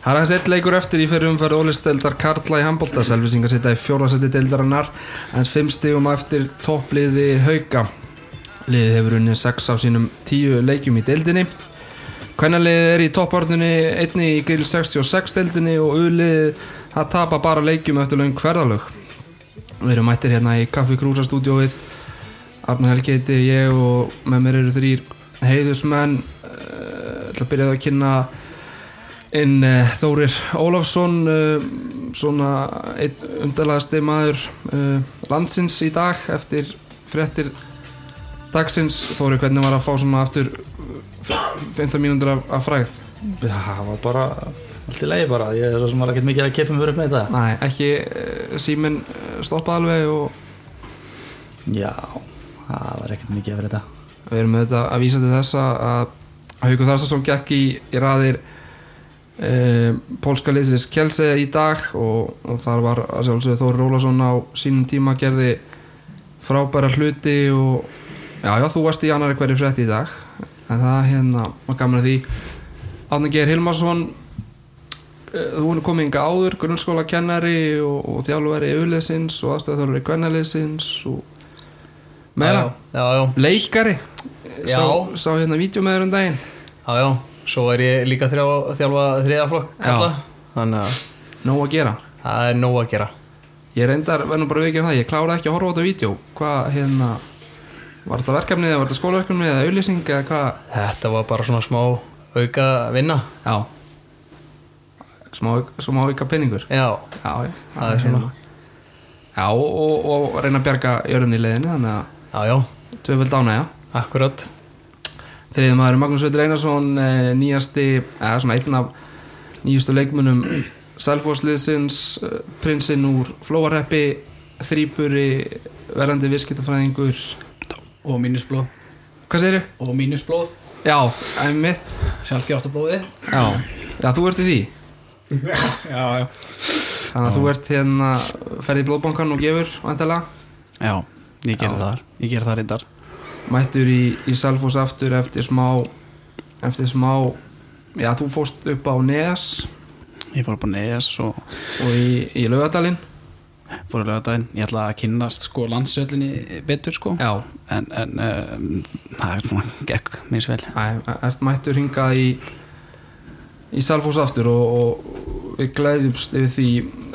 Það er aðeins eitt leikur eftir í fyrir umferð Ólisteildar Karla í handbólta Selvisingar sitja í fjórðarsætti deildarinnar en fimm stigum á eftir toppliði Hauka Liðið hefur unnið sex af sínum tíu leikjum í deildinni Kvennaliðið er í toppvarninni einni í grill 66 deildinni og uliðið að tapa bara leikjum eftir laung hverðalög Við erum mættir hérna í Kaffi Krúsa stúdióið Arnar Helgeiti, ég og með mér eru þrýr heiðusmenn Ég ætla að byrja á að kynna inn eh, Þórir Ólafsson eh, svona einn umdalaðasti maður eh, landsins í dag eftir frettir dagsins Þórir, hvernig var að fá svona aftur eh, 15 mínútur af, af fræð? Já, það var bara allt í leiði bara, ég er svo sem var ekkert mikið að keppa mér upp með þetta Nei, ekki eh, síminn eh, stoppaði alveg og Já, það var ekkert mikið að vera þetta Við erum auðvitað að vísa til þess að að Haukur Þarstason gekk í, í raðir e, Pólska liðsins Kjelse í dag og, og þar var að sjálfsögðu Þóri Rólasson á sínum tíma gerði frábæra hluti og já, já, þú varst í annari hverju frétti í dag en það hérna var gaman að því Átni Geir Hilmarsson eh, þú er komið inga áður grunnskóla kennari og, og þjálfveri auðliðsins og aðstöðarþjálfari kvennaliðsins og meira Já, já, leikari Já. sá, sá hérna vídeo með þér um daginn já, já Svo er ég líka þrjá, þjálfa þriðaflokk Já. kalla Þannig að nóg að gera það er nóg að gera ég reyndar, verðum bara vikið um það, ég klára ekki að horfa á þetta vídeo hvað hérna var þetta verkefnið eða var þetta skólaverkefnið eða auðlýsing eða hvað Þetta var bara svona smá auka vinna já smá, smá ykkar penningur já, Já, já, Það er svona. já og, og, og reyna að bjarga jörðin í leiðinni þannig að já, já, tvöföld ánægja akkurat Þriðið maður er Magnús Ötur Einarsson eh, nýjasti, eða svona einn af nýjustu leikmunum Selfosliðsins, eh, prinsinn úr Flóareppi, þrýpuri verðandi viðskiptafræðingur og mínusblóð Hvað segir þið? og mínusblóð, Já, einmitt sjálfgefastablóði Já, já þú ert í því já, já Þannig að þú ert hérna, ferði í blóðbankan og gefur vantilega, já, ég gerði það þar, ég gerði það reyndar mættur í, í Selfos aftur eftir smá eftir smá, já þú fóst upp á Neas ég fór upp á neðis og og í, í Laugadalinn fór að löga daginn ég ætla að kynnast sko landsöllinni betur sko Já, en, en um, það er svona gekk minns vel Æ, ert mættur hingað í í Salfós aftur og, og við glæðjumst yfir því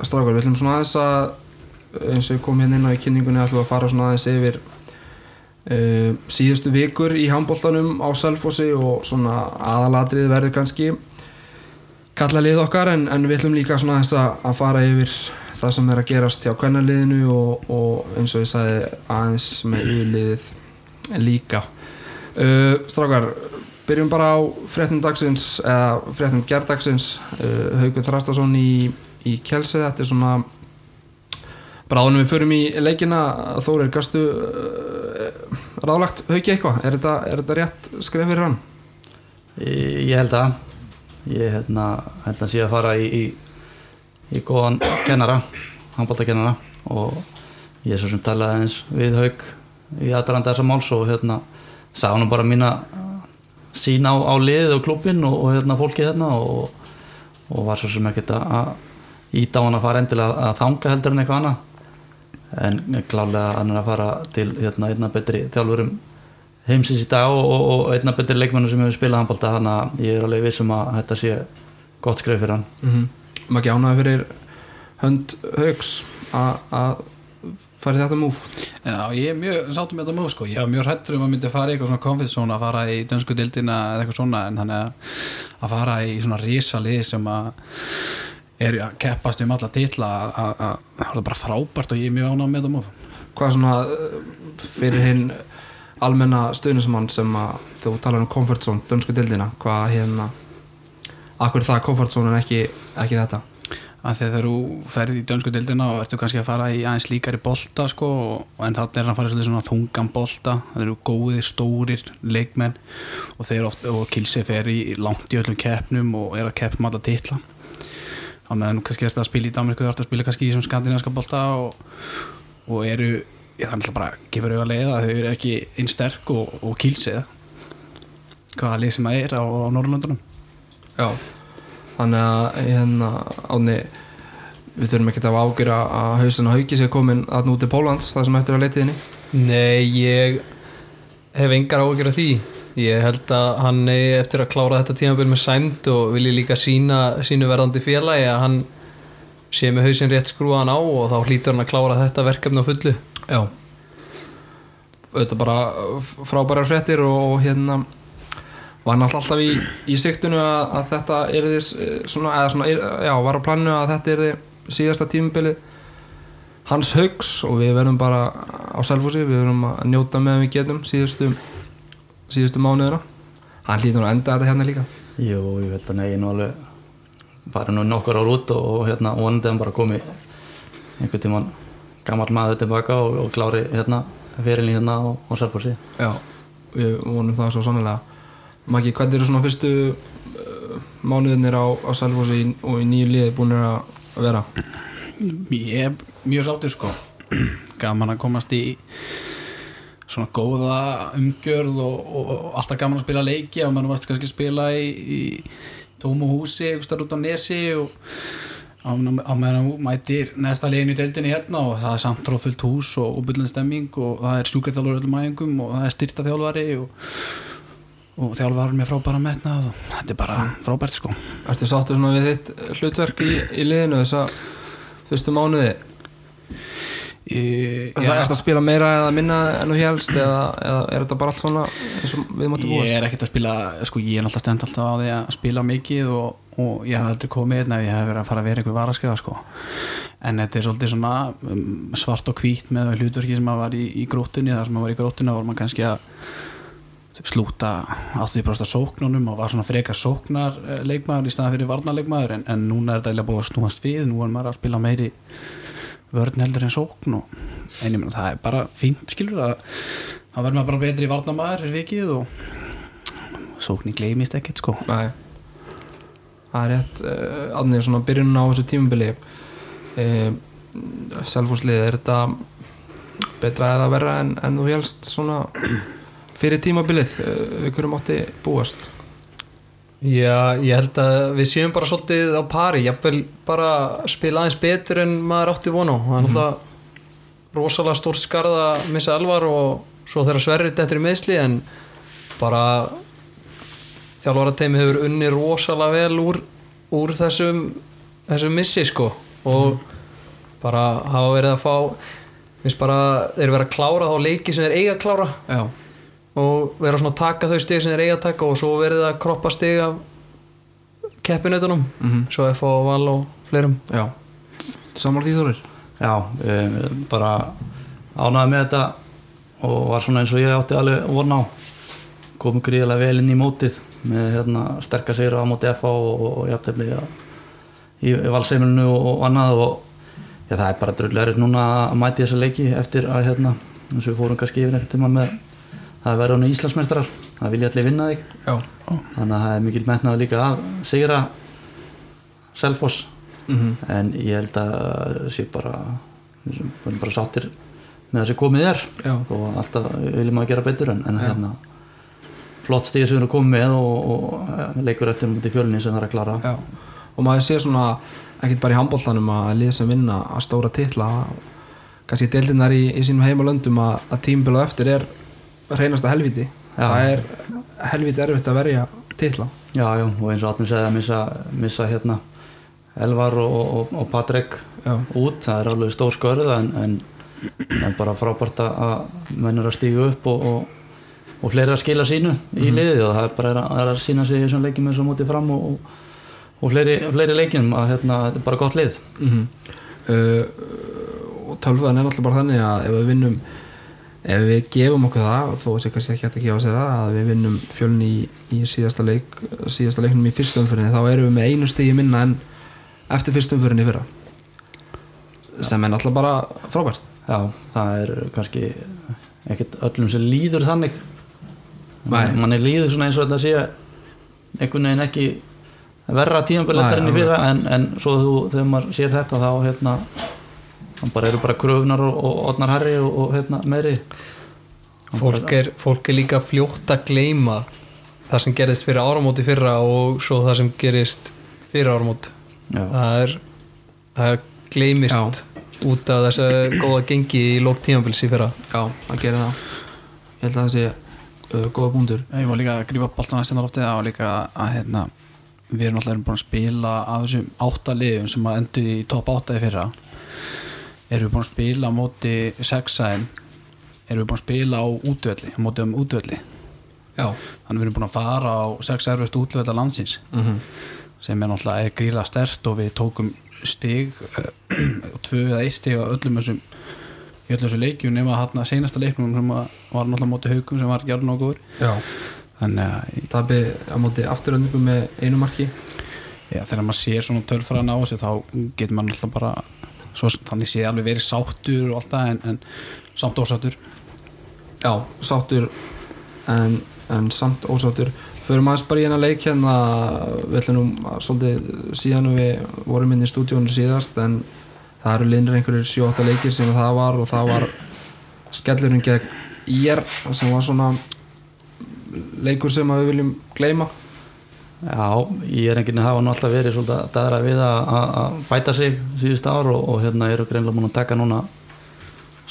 strákar, við ætlum svona aðeins að eins og við komum hérna inn á í kynningunni ætlum við að fara svona aðeins yfir uh, síðustu vikur í handbóltanum á Salfósi og svona aðalatrið verður kannski kalla lið okkar en, en við ætlum líka svona þess að, að fara yfir það sem er að gerast hjá kvennaliðinu og, og eins og ég sagði aðeins með yfirliðið líka uh, Strákar, byrjum bara á fréttum dagsins eða fréttum gerdagsins uh, Haukur Þrastason í, í Kjelsið þetta er svona bráðunum við förum í leikina Þórir, gastu uh, ráðlagt Hauki eitthvað, er þetta, er þetta rétt skref fyrir hann? Ég, ég held að ég hérna, held að sé að fara í, í, í góðan kennara handbóltakennara og ég er svo sem talaði aðeins við haug í aðdralanda þessa máls og hérna sá hann bara mína sín á, á liðið og klubbin og, og hérna fólkið hérna og, og var svo sem ekkert að- að íta á hann að fara endilega að þanga heldur en eitthvað annað en klálega hann er að fara til hérna einna betri þjálfurum heimsins í dag og, og, og einna betri leikmennu sem hefur spilað handbólta þannig að ég er alveg vissum að þetta sé gott skref fyrir hann Mm -hmm. Maggi ánaði fyrir hönd Hauks a- að fara í þetta múf Já, ég er mjög sáttum með þetta múf sko, ég var mjög hrættur um að myndi fara í eitthvað svona confidence zone að fara í dönsku dildina eða eitthvað svona en þannig að, að fara í svona risa lið sem að er að keppast um alla titla að- að að- það er bara frábært og ég er mjög ánað með þetta múf hvað svona uh, fyrir hinn almenna stuðnismann sem að þú talar um comfort zone, dönsku dildina hvað hérna akkur er það comfort zone en ekki, ekki þetta að þegar þú ferð í dönsku dildina og ertu kannski að fara í aðeins líkari bolta sko, og- en þannig er hann að fara í svolítið svona þungan bolta, það eru góðir, stórir leikmenn og þeir oft og Kilsi fer í langt í öllum keppnum og er að keppum alla titla á meðan þú kannski ert að spila í Danmarku þú ert að spila kannski í þessum skandinaviska bolta og, og eru ég þannig að bara gefur auðvitað leið að þau eru ekki einn sterk og, og Kilsi hvaða lið sem það er á, á Norrlöndunum já, þannig að hérna ánni við þurfum ekkert að ágjöra að hausin og haugi sé komin að núti Pólans það sem eftir að leitiðinni Nei, ég hef engar áhyggjur af því Ég held að hann eigi eftir að klára þetta tímabil með sæmd og vilji líka sína sínu verðandi félagi að hann sé með hausinn rétt skrúaðan á og þá hlýtur hann að klára þetta verkefni á fullu Já auðvitað bara f- frábærar fréttir og hérna var náttúrulega alltaf í, í siktinu að, að þetta er þess svona, eða svona, er, já, var á plannu að þetta er þið síðasta tímabilið hans haugs og við verðum bara á selfhúsi, við verðum að njóta með við getum síðustu síðustu mánuðina hann hlýtur nú að enda þetta hérna líka Jú, ég held að negin og alveg fara nú nokkur ár út og, og hérna vonandi hann bara komi einhvern tímann gammal maður tilbaka og, og klári hérna fyrirlin hérna og, og sérfór síðan. Já, við vonum það svo sannlega Maggi, hvernig eru svona fyrstu uh, mánuðinir á, á Salfossi í- og í nýju liði búinir að að vera? Ég er mjög sáttur sko Gaman að komast í svona góða umgjörð og, og, og alltaf gaman að spila leiki og mann varst kannski að spila í, í tómu húsi, einhvers staðar út á nesi og á meðan á meðan þú mætir neðsta leginu í deildinni hérna og það er samtróðfullt hús og, og byrlun stemming og það er sjúkriðþjálfur öllum æfingum og það er styrta þjálfari og, og þjálfari með frábæra metnað og þetta er bara frábært sko Ertu sáttu svona við þitt hlutverk í, í liðinu þessa fyrstu mánuði? Ég, Það ertu að spila meira eða minna en þú helst eða, eða er þetta bara allt svona eins og við máttum Ég búast? er ekkert að spila, sko ég er alltaf stend alltaf á því að spila mikið og, og ég hef aldrei komið einn ef ég hef verið að fara að vera einhver varaskjöða sko en þetta er svolítið svona um, svart og hvít með hlutverki sem að var í, í grótunni þar sem að var í grótunni var maður kannski að slúta 80% af sóknunum og var svona frekar sóknar eh, leikmaður í staðan fyrir varnarleikmaður en, en núna er þetta eiginlega búið að snúast við nú er maður að spila meiri vörn heldur en sókn og en ég meina það er bara fínt skilur að það verður maður bara betri varnamaður fyrir vikið og sóknin gleymist ekkert sko Nei Það er rétt uh, aðnið svona byrjunum á þessu tímabili uh, Selfhúslið er þetta betra eða verra en, en þú helst svona fyrir tímabilið uh, við hverju mátti búast Já, ég held að við séum bara svolítið á pari, jafnvel bara spila aðeins betur en maður átti von á það er náttúrulega rosalega stórt skarð að missa elvar og svo þegar sverrið þetta er meðsli en bara þjálfara teimi hefur unni rosalega vel úr, úr þessum þessum missi sko og bara hafa verið að fá minnst bara þeir verið að klára þá leiki sem þeir eiga að klára Já, og vera svona að taka þau stig sem þeir eiga að taka og svo verið að kroppa stig af keppinutunum Mhm. svo F.O. og Val og fleirum já Samar því Þórir Já, um, bara ánaði með þetta og var svona eins og ég átti alveg vorn á komum gríðilega vel inn í mótið með hérna, sterka sigra á móti FH og, og, og jafntefli á- í, í valseimilinu og, og annað og já, það er bara drullerist núna að mæti þessa leiki eftir að hérna, eins og við fórum kannski yfir eftir maður með það verða hann Íslandsmestrar það vilja allir vinna þig Já, þannig að það er mikil metnaður líka að sigra Selfoss Mhm. en ég held að sé bara við erum bara sattir með það sem komið er Já. og alltaf viljum að gera betur en, en hérna flott stíð sem við erum komið með og, og eh, leikur eftir mútið fjölni sem það er að klara já Og maður sé svona ekkert bara í handbóltanum að lið sem vinna að stóra titla kannski deildinar í, í sínum heimalöndum að, að tímabilið á eftir er reynasta helviti Já. það er helviti erfitt að verja titla já, já, og eins og Atni segði að missa, missa hérna Elvar og, og, og Patrik Já. út, það er alveg stór skörð en, en, en bara frábært að- að menn er að stíga upp og, og, og fleiri að skila sínu í Mhm. liðið og það er bara er að, er að sína sig í þessum leikjum eins og mótið fram og, og, og fleiri, fleiri leikjum að hérna, þetta er bara gott lið mm uh, og tölfan er náttúrulega bara þannig að ef við vinnum ef við gefum okkur það þó sé kannski ekki hægt að gefa sér það að við vinnum fjölni í, í síðasta leik síðasta leiknum í fyrstu umfyrinni þá erum við með einu stigi minna en eftir fyrstu umfyrinni fyrra sem er náttúrulega bara frábært Já, það er kannski ekkert öllum sem líður þannig Nei. Man er líður svona eins og þetta sé einhvern veginn ekki verra tímabilið Nei, enn í alveg. fyrra en, en svo þú, þegar maður sér þetta þá hérna hann bara eru bara kröfnar og, og odnar herri og, og hérna meiri fólk er, fólk er líka fljótt að gleyma það sem gerðist fyrir áramóti fyrra og svo það sem gerist fyrir ármót Já. það er það gleymist út af þess að góða gengi í lók tímabils í fyrra já, það gerir það ég held að það sé uh, góða búndur Ég var líka að grípa boltana sem það loftið það var líka að hérna, við erum alltaf búin að spila af þessum átta liðum sem að endu í topp átta í fyrra erum við búin að spila á móti sexæðin erum við búin að spila á útvölli á móti um útvölli já, þannig við erum búin að fara á sex erfist útvölda landsins mhm, sem er náttúrulega er gríla stert og við tókum stig eh, tvö eða eitt stig á öllum þessum í öllum þessum leikjum nema hann að seinasta leiknum sem að- var náttúrulega á móti haugum sem var ekki alveg nokkuð já þannig að það byrði á móti afturöndingu með einu marki Já, þegar maður sér svona tölfræðan á þessu þá getur maður alltaf bara svo, þannig sé alveg verið sáttur og allt það en, en samt ósáttur já, sáttur en, en samt ósáttur förum aðeins bara í hennar leik hérna við ætlum nú að svolítið síðan og við vorum inn í stúdíónu síðast en það eru lindur einhverjir 7-8 leikir sem það var og það var skellurinn gegn IR sem var svona leikur sem að við viljum gleyma Já, ég er enginn að hafa nú alltaf verið svolítið að daðra við að- að að bæta sig síðust ár og, og hérna eru greinlega búin að taka núna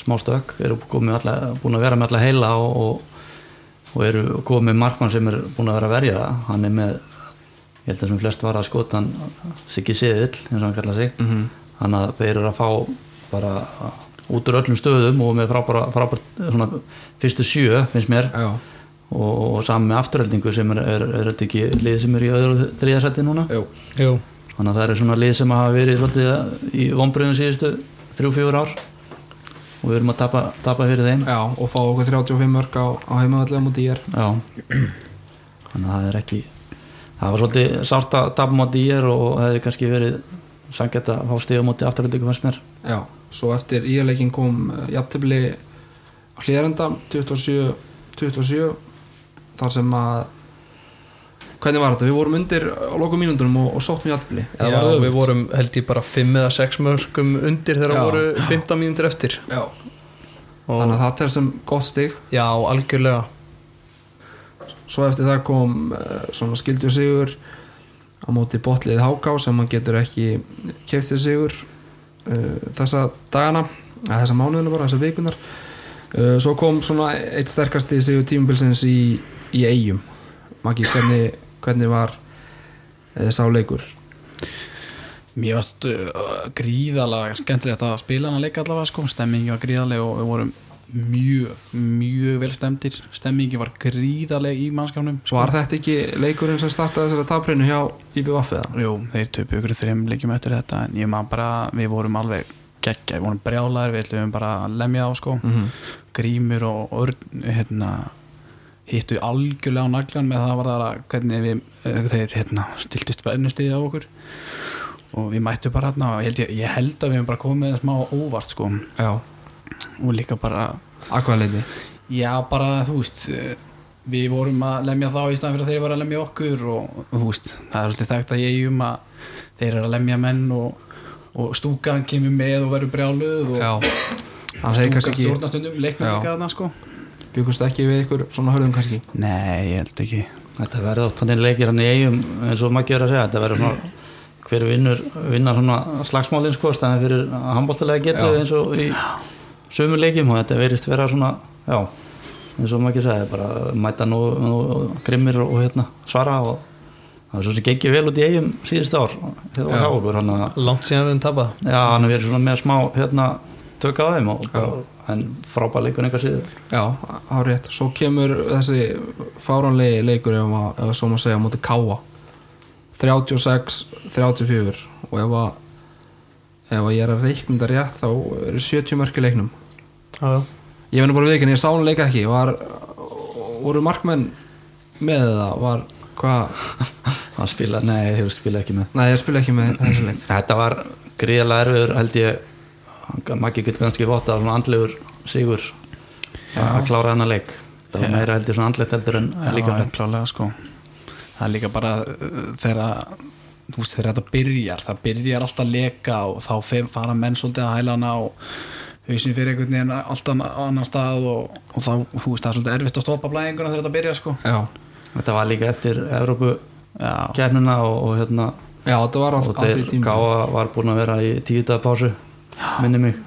smá stök, eru komið alla, búin að vera með alla heila og, og, og eru komið með markmann sem er búin að vera að verja það, hann er með ég held að sem flest var að skota hann Siggi Siðill, eins og hann kallar sig mm hann að þeir eru að fá bara út úr öllum stöðum og með frábæra, frábæra svona, fyrstu sjö, finnst mér já, og, og saman með afturöldingu sem er, er, er þetta ekki lið sem er í öðru þriðasætti núna já, Jú. þannig að það eru svona lið sem hafa verið svolítið eh, í vonbröðum síðustu þrjú-fjúr ár og við erum að tapa, tapa fyrir þeim já og fá okkur 35 mörg á, á heimavallega múti IR Já Þannig að það er ekki Það var svolítið sárt að tapa móti í er og hefði kannski verið sangett að fá stíða móti afturöldingu fannst mér já, svo eftir IR-leikin kom uh, jafntefli hlýðarenda 27-27 þar sem að hvernig var þetta, við vorum undir á lokum mínundunum og, og sóttum jafntefli Eða Já, var það við öfugt? vorum held ég bara 5 eða 6 mörgum undir þegar Já. voru 15 mínútur eftir já, og þannig að það er sem gott stig já, algjörlega svo eftir það kom uh, svona skildjur sigur á móti botlið háká sem hann getur ekki keft sér sigur uh, þessa dagana eða þessa mánuðina bara, þessa vikunar uh, svo kom svona eitt sterkasti sigur tímubilsins í, í eigum Maggi, hvernig, hvernig var uh, sáleikur Mér varst uh, gríðalega skemmtilegt að spila hann að leika allavega sko stemmingi var gríðaleg og við vorum mjög, mjög vel stemdir stemmingi var gríðaleg í mannskapnum sko. var þetta ekki leikurinn sem startaði þessari taprinu hjá IBVF eða? Jú, þeir töpu ykkur þreim leikjum eftir þetta en ég maður bara, við vorum alveg geggja, við vorum brjálæðir, við ætlum bara að lemja á sko, grímur og örn, hérna hittu algjörlega á naglan með það var það að hvernig við, eh, þeir hérna stiltist bara ennustíði á okkur og við mættum bara hérna, og ég held, ég, ég held að við hefum bara komið smá óvart sko já, og líka bara akvaðleiti Já, bara þú veist eh, við vorum að lemja þá í staðan fyrir að þeir voru að lemja okkur og og, þú veist, það er svolítið þekkt að ég um að þeir eru að lemja menn og, og stúkan kemur með og verður brjáluð og já, hann hefði stúkan kannski ekki stjórnastundum, leiknum Já. líka þarna sko byggust ekki við ykkur svona hörðum kannski Nei, ég held ekki Þetta verði átt þannig leikir hann í eigum eins og maður gerur að segja, þetta verður svona hver vinnur, vinnar svona slagsmálin sko, staðan fyrir handbóltilega getur Já. eins og í sömu leikjum og þetta verðist vera svona, já eins og maður segja, bara mæta nú, nú grimmir og hérna svara og það er svo sem gengið vel út í eigum síðust ár, þetta var hjá okkur hann að langt síðan við höfum tapað já, hann verið svona með smá hérna tökka á þeim og bara, en frábæð leikun eitthvað síður Já, á rétt. Svo kemur þessi fáránlegi leikur ef, að, ef að svo maður segja á móti Káa 36-34 og ef að ef að ég er að reikna þetta rétt þá eru 70 mörk í leiknum já, já. Ég venni bara vikin, ég sá hún leika ekki var, voru markmenn með það, var hvað hann spila, nei, hefur spila ekki með Nei, ég spila ekki með þessi leik Þetta var gríðarlega erfiður held ég Maggi getur kannski fótt að svona andlegur sigur að klára þennan leik það var meira held ég svona andlegt heldur en Já, líka en klálega sko Það er líka bara uh, þegar að- þú veist þegar þetta byrjar það byrjar alltaf að leka og þá fe- fara menn svolítið að hæla hana og hausin fyrir einhvern veginn alltaf annar stað og, og þá, þú veist, það er svolítið erfitt að stoppa blæðinguna þegar þetta byrjar sko Já, þetta var líka eftir Evrópu Já, kemnuna og, og hérna Já, þetta var á, á og því þeir tíma Gáa var búin að vera í tíu daga pásu minni mig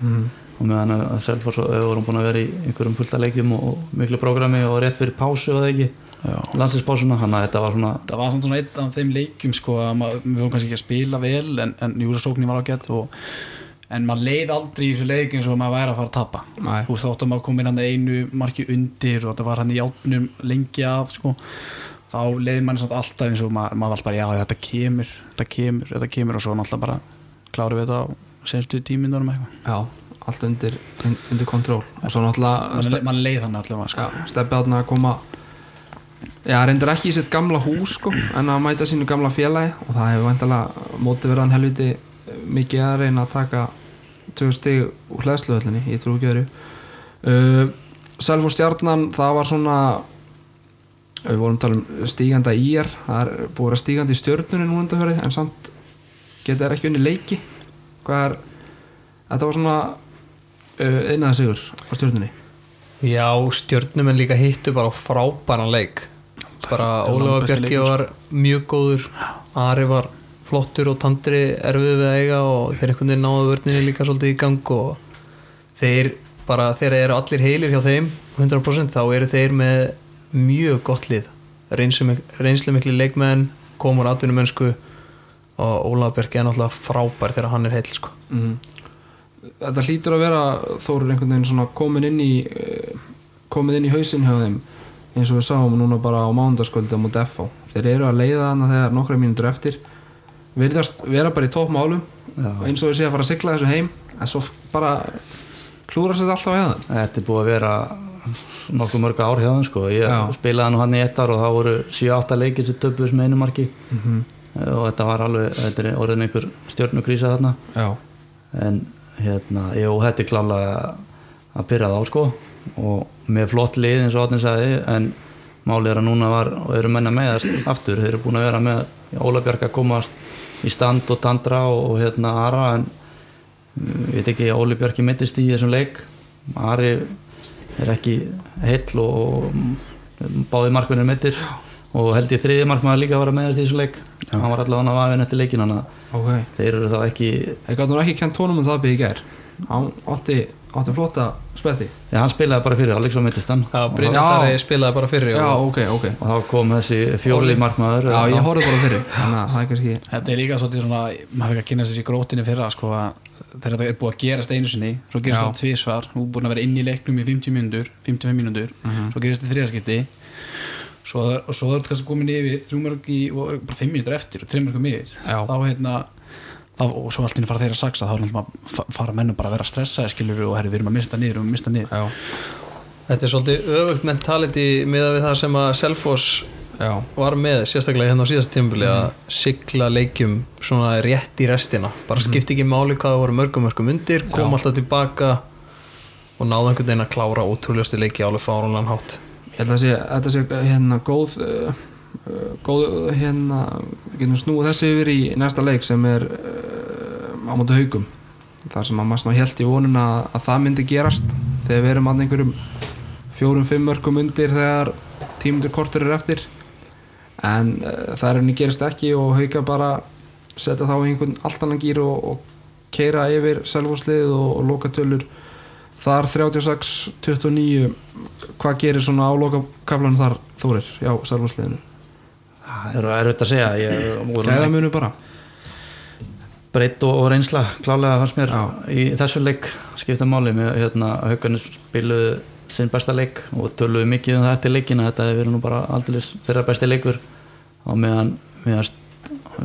og meðan að Selfoss og Öður búin að vera í einhverjum fullta leikjum og, og miklu prógrami og rétt fyrir pásu og það ekki landslýspásuna, þannig að þetta var svona það var samt svona einn af þeim leikjum sko, að maður, við vorum kannski ekki að spila vel en, en júrasóknir var ágætt og en maður leið aldrei í þessu leik eins og maður væri að fara að tapa Nei. þú veist þá áttum maður að koma inn hann einu marki undir og það var hann í játnum lengi af sko. þá leið manni samt alltaf eins og maður, maður var alltaf bara já þetta kemur, þetta kemur, þetta kemur og svo náttúrulega bara kláru við þetta á senstu tímindunum eitthvað Já, allt undir, un- undir kontról og svo náttúrulega mann, mann leið hann allavega sko. Já, steppi átna að koma Já, reyndir ekki í sitt gamla hús sko, en að mæta sínu gamla félagi og það hefur vantalega móti verðan helviti eh, mikið að reyna að taka tvö stig úr hlæðsluhöllinni ég trú ekki öðru uh, Self og stjarnan, það var svona við vorum að tala um stíganda í er, það er búið að vera stígandi í stjörnunni núna undanfjörði, en samt geta þær ekki unni leiki hvað er, þetta var svona uh, einaða sigur á stjörnunni Já, stjörnum en líka hittu bara á frábæran leik bara þetta var Ólega besti Bjarki leikur, sko. var mjög góður Ari var flottur og Tandri erfið við að eiga og þeir einhvern veginn náðu vörninni líka svolítið í gang og þeir bara, þeir eru allir heilir hjá þeim 100% þá eru þeir með mjög gott lið reynslu, reynslu mikli leikmenn komur atvinnumönsku og Ólega Bjarki er náttúrulega frábær þegar hann er heil sko. Mhm. þetta hlýtur að vera Þórur einhvern veginn svona komin inn í eh, komin inn í hausinn hjá þeim eins og við sáum núna bara á mándaskvölda mútið FH, þeir eru að leiða hana þegar nokkra mínútur eftir verðast vera bara í toppmálum eins og við séum að fara að sigla þessu heim en svo bara klúrast þetta alltaf hjá þeim Þetta er búið að vera nokkuð mörg ár hjá þeim sko. Ég Já. spilaði nú hann í ett ár og það voru 7-8 leikir sem töpuðis með einu marki og þetta var alveg, þetta er orðin einhver stjórnugrísa þarna já, en hérna, jú, þetta er klálega að pyrra þá sko og með flott lið eins og Otni sagði en málið er að núna var og eru menna meðast aftur, þeir eru búin að vera með Ólafbjörg að komast í stand og tandra og, og hérna Ara en mm, ég veit ekki að Ólafbjörg mittist í þessum leik Ari er ekki heill og, og báði markvinnir mittir og held ég þriði markmaður líka að vera meðast í þessum leik hann var allavega að vafin eftir leikin hann ok þeir eru þá ekki þeir gætu nú ekki kent honum um það byggja í gær hann átti, átti flotta spetti Já, hann spilaði bara fyrir Alex og Mittistan Já, og, Já. Brynjar Darri spilaði bara fyrir já, og ok, ok og þá kom þessi fjóli markmaður já, ég horfði bara fyrir þannig að það er kannski Þetta er líka svolítið svona, maður fyrir að kynna þessi grótinni fyrra sko að þegar þetta er búið að gerast einu sinni, svo gerist Já. þetta tvísvar þú er búin að vera inn í leiknum í 50 mínútur 55 mínútur, Mhm. svo gerist þetta þriðaskipti svo, og svo er þetta kannski komin yfir þrjumörg í, og bara 5 mínútur eftir og þrjumörgum yfir, Já. þá hérna þá, og svo allt inni fara þeir að saksa þá er náttúrulega bara- fa- fara mennum bara að vera stressaði skilur og herri, við erum að mista niður, við erum að mista niður já, Þetta er svolítið öfugt mentality miða við það sem að Selfoss já, Mhm. var með sérstaklega hérna á síðast tímbili að sigla leikjum svona rétt í restina bara skipti ekki máli hvað það voru mörgum mörgum undir kom alltaf tilbaka og náðu einhvern veginn að klára ótrúljósti leiki alveg fárunlegan hátt ég held að sé, þetta sé hérna góð uh, uh, góð hérna við getum snúið þessu yfir í næsta leik sem er uh, á móti haugum þar sem að maður svona held í vonuna að, að það myndi gerast þegar við erum að einhverjum fjórum, fimm mörgum undir þegar tímundur kortur er eftir en uh, það er henni gerist ekki og hauga bara setja þá í einhvern allt annan gýr og, og keira yfir selvúslið og, og lokatölur þar 36-29 hvað gerir svona á lokakaflanum þar Þórir, já, selvúsliðinu Það eru erfitt að segja ég voru gæðamunu bara breytt og, og reynsla klálega fannst mér Já. í þessu leik skipta máli með hérna haugarnir spiluðu sinn besta leik og töluðu mikið um það eftir leikina þetta hefur verið nú bara aldrei þeirra besti leikur á meðan, meðan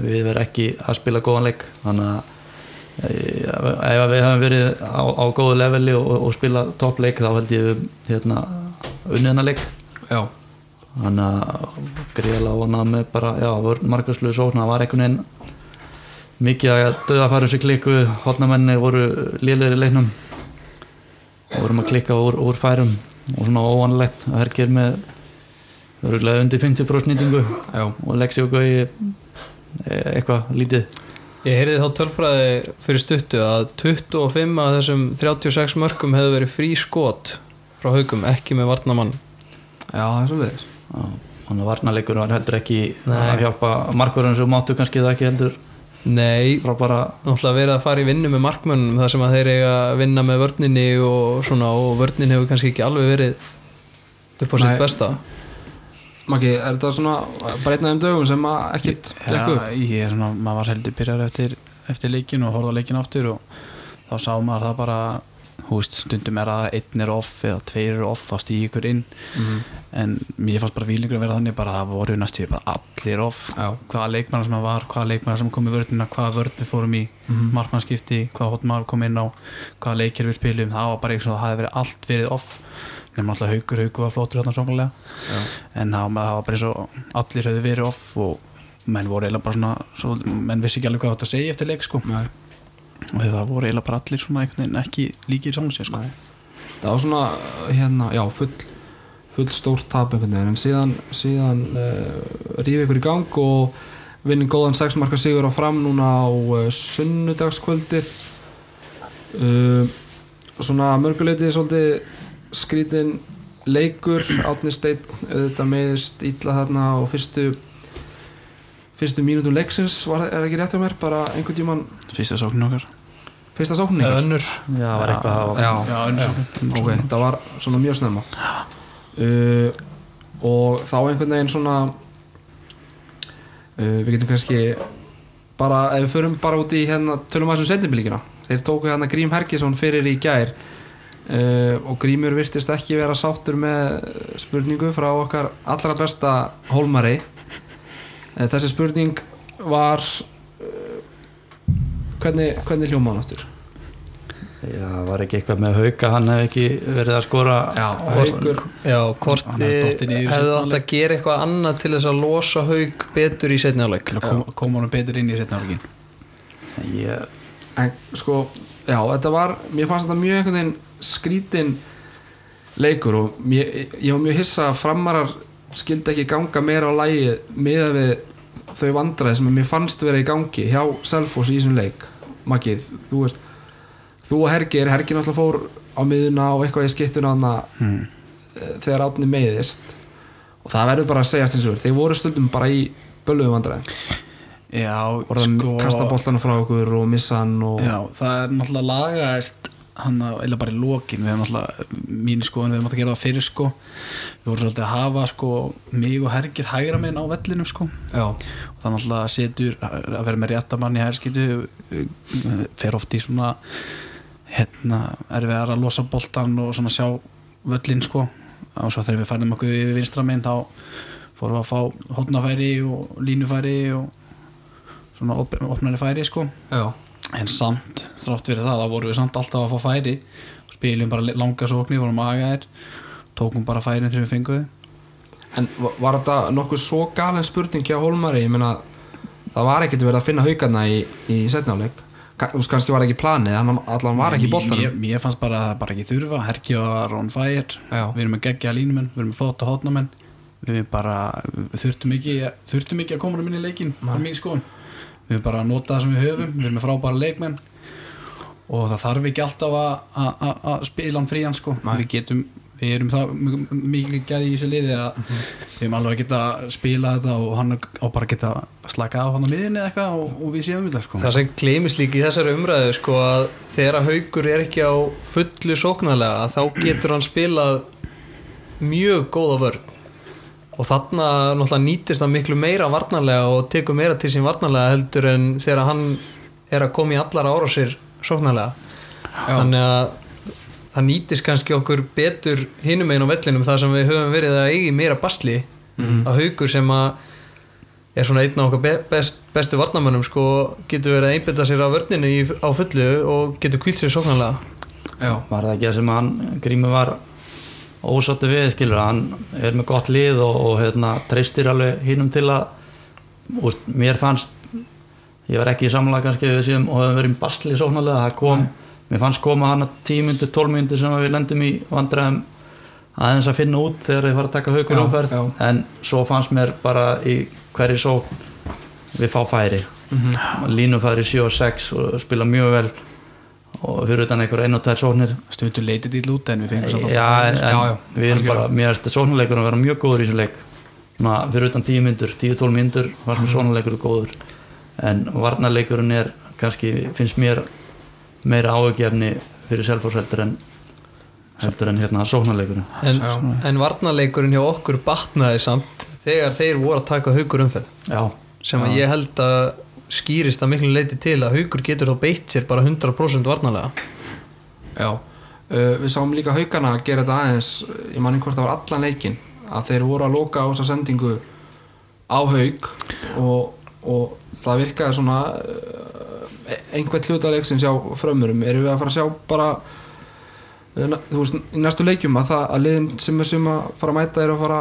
við verðum ekki að spila góðan leik þannig að eh, ef að við höfum verið á, á góðu leveli og, og spila toppleik þá held ég við, hérna unniðna leik já, þannig að gríðlega vonað með bara, já, vörn margasluðu sókna það var einhvern veginn mikið að döðafærum sér klikku hotnamenni voru lélegri í leiknum og vorum að klikka úr, úr færum og svona óvanlegt að herkir með örgulega undir 50% nýtingu já, og leggsi og gauði eitthvað lítið Ég heyrði þá tölfræði fyrir stuttu að 25 af þessum 36 mörgum hefðu verið frí skot frá haugum, ekki með varnamann já, það er svolítið Já, þannig að varnarleikur var heldur ekki Nei. að hjálpa markverðum sem máttu kannski það ekki heldur Nei, frá bara náttúrulega verið að fara í vinnu með markmönnum þar sem að þeir eiga að vinna með vörninni og svona og vörnin hefur kannski ekki alveg verið upp á Nei. sitt besta Maggi, er þetta svona bara einn af þeim dögum sem að ekkert Já, gekk upp? ég er svona, maður var heldur byrjar eftir, eftir leikin og horfði á leikin aftur og þá sá maður það bara þú veist, stundum er að einn er off eða tveir eru off, þá stíði ykkur inn Mhm. en mér fannst bara fílingur að vera þannig bara það voru næstu bara allir off Já. hvaða leikmannar sem það var, hvaða leikmannar sem kom í vörðina hvaða vörð við fórum í, mm Mhm. markmannskipti hvaða hotmar kom inn á, hvaða leikir við spilum, það var bara eitthvað, það hafði verið allt verið off nema alltaf haugur, haugur var flottur þarna svongulega, en það, var- það var bara eins og allir höfðu verið off og menn voru eiginlega bara svona, svona menn vissi ekki alveg hvað þetta segja eftir leik sko Nei. og það voru eiginlega bara allir svona einhvern veginn ekki líkir saman sér sko Nei. það var svona hérna, já, full, full stórt tap einhvern veginn, en síðan, síðan uh, rífi ykkur í gang og vinni góðan 6 marka sigur á fram núna á uh, sunnudagskvöldið uh, svona mörguleiti svolítið skrítin leikur Átni Steinn auðvitað meðist ítla þarna og fyrstu fyrstu mínútum leiksins var, er það ekki rétt hjá mér, bara einhvern tíman fyrsta sóknin okkar fyrsta sóknin eða ykkar? önnur já, var eitthvað að hafa já, já, önnur sóknin ok, þetta var svona mjög snemma uh, og þá einhvern veginn svona uh, við getum kannski bara, ef við förum bara út í hérna, tölum aðeins um setnibílíkina þeir tóku hérna Grím Hergisson fyrir í gær uh, og Grímur virtist ekki vera sáttur með spurningu frá okkar allra besta hólmari uh, þessi spurning var uh, hvernig, hvernig hljóma hann áttur? já, var ekki eitthvað með hauka hann hef ekki verið að skora Haukur Já, hvort Hann þið hefði dottið niður í hefðu seinni átt að gera eitthvað annað til þess að losa haug betur í setni áleik til að koma, koma honum betur inn í setna álegin ég, en sko, já, þetta var mér fannst þetta mjög einhvern veginn skrítin leikur og mér, ég var mjög hissa að framarar skildi ekki ganga meira á lægi meða við þau vandræði sem mér fannst vera í gangi hjá Selfoss í þessum leik Maggi, þú veist þú og Hergir, Hergir náttúrulega fór á miðuna og eitthvað í skiptuna hana hmm. þegar átni meiðist og það verður bara að segjast eins og verður þeir voru stundum bara í bölluðum vandræði já, voru að kasta boltan frá okkur og missa hann og Sko- já, það er náttúrulega lagaðist hann að, eða bara í lokin við hefum náttúrulega, mín skoðan, við hefum átt að gera það fyrir sko við vorum svolítið að hafa sko mig og Hergir hægra minn á vellinum sko já. og það náttúrulega setur að vera með rétta mann í herskitu fer oft í svona hérna, er við að losa boltan og svona sjá völlin sko og svo þegar við færðum okkur yfir vinstra minn þá fórum við að fá hotnafæri og línufæri og svona op opnari færi sko Já. en samt, þrátt fyrir það, þá vorum við samt alltaf að fá færi spilum bara langa sóknir, vorum agaðir tókum bara færin þegar við fengum þau En va- var þetta nokkuð svo galen spurning hjá Holmari, ég meina það var ekkert verið að finna haugana í, í setnáleik, kannski var það ekki planið en hann allan var ekki í mér, boltanum mér fannst bara að það bara ekki þurfa, Herki var on fire Já. við erum að gegja línumenn, við erum að flóta hotnamenn við erum bara, við þurftum ekki þurftum ekki að koma um inn í leikin á mín skoðun, við erum bara að nota það sem við höfum við erum með frábæra leikmenn og það þarf ekki alltaf að- að að- að spila hann frían sko við getum, við erum það m- m- mikið gæði í þessu liði að Mhm. við erum alveg að geta að spila þetta og hann á bara að geta slaka á hann á miðinni eða eitthvað og, og við séum þetta sko Það sem gleymist líka í þessari umræðu sko að þegar að haugur er ekki á fullu sóknarlega þá getur hann spilað mjög góða vörn og þarna náttúrulega nýtist það miklu meira varnarlega og tekur meira til sín varnarlega heldur en þegar hann er að koma í allar ára sér sóknarlega þannig að það nýtist kannski okkur betur hinum einn á vellinum þar sem við höfum verið að eigi meira basli að haugur sem að er svona einn af okkar be- best, bestu varnamönnum sko, getur verið að einbytta sér á vörninu í, á fullu og getur kvílt sér sóknarlega Já, var það ekki það sem hann Grímur var ósáttu við skilur, hann er með gott lið og, og hérna, treystir alveg hinnum til að úst, mér fannst ég var ekki í samlega kannski við séum og hefum verið í basli sóknarlega það kom, mér fannst koma hann að 10 myndir, 12 myndir sem að við lendum í vandræðum aðeins að finna út þegar þið var að taka haukur Já, umferð já. en svo fannst mér bara í hverju sókn við fá færi Mhm. línu færi 7 og 6 og spila mjög vel og fyrir utan einhver ein og tvær sóknir stundu leitið í lúta en við fengum samt alltaf já, en, Já, já, við erum bara, mér finnst sónuleikur að vera Mhm. mjög góður í þessum leik Ná, fyrir utan 10 myndur, 10-12 myndur var sem sónuleikur góður en varnarleikurinn er kannski finnst mér meira áhugjefni fyrir Selfoss heldur en heldur en hérna sóknarleikurinn en, en varnarleikurinn hjá okkur batnaði samt þegar þeir voru að taka haugur umfæð já, sem að ég held að skýrist að miklu leiti til að haugur getur þá beitt sér bara 100% varnarlega Já, uh, við sáum líka haugana að gera þetta aðeins, uh, ég manni hvort það var allan leikin, að þeir voru að loka á þessa sendingu á haug og, og það virkaði svona uh, einhvern hlutaleg sem sjá frömmurum, erum við að fara að sjá bara eh, na- þú veist, í næstu leikjum að það að liðin sem er sem að fara að mæta eru að fara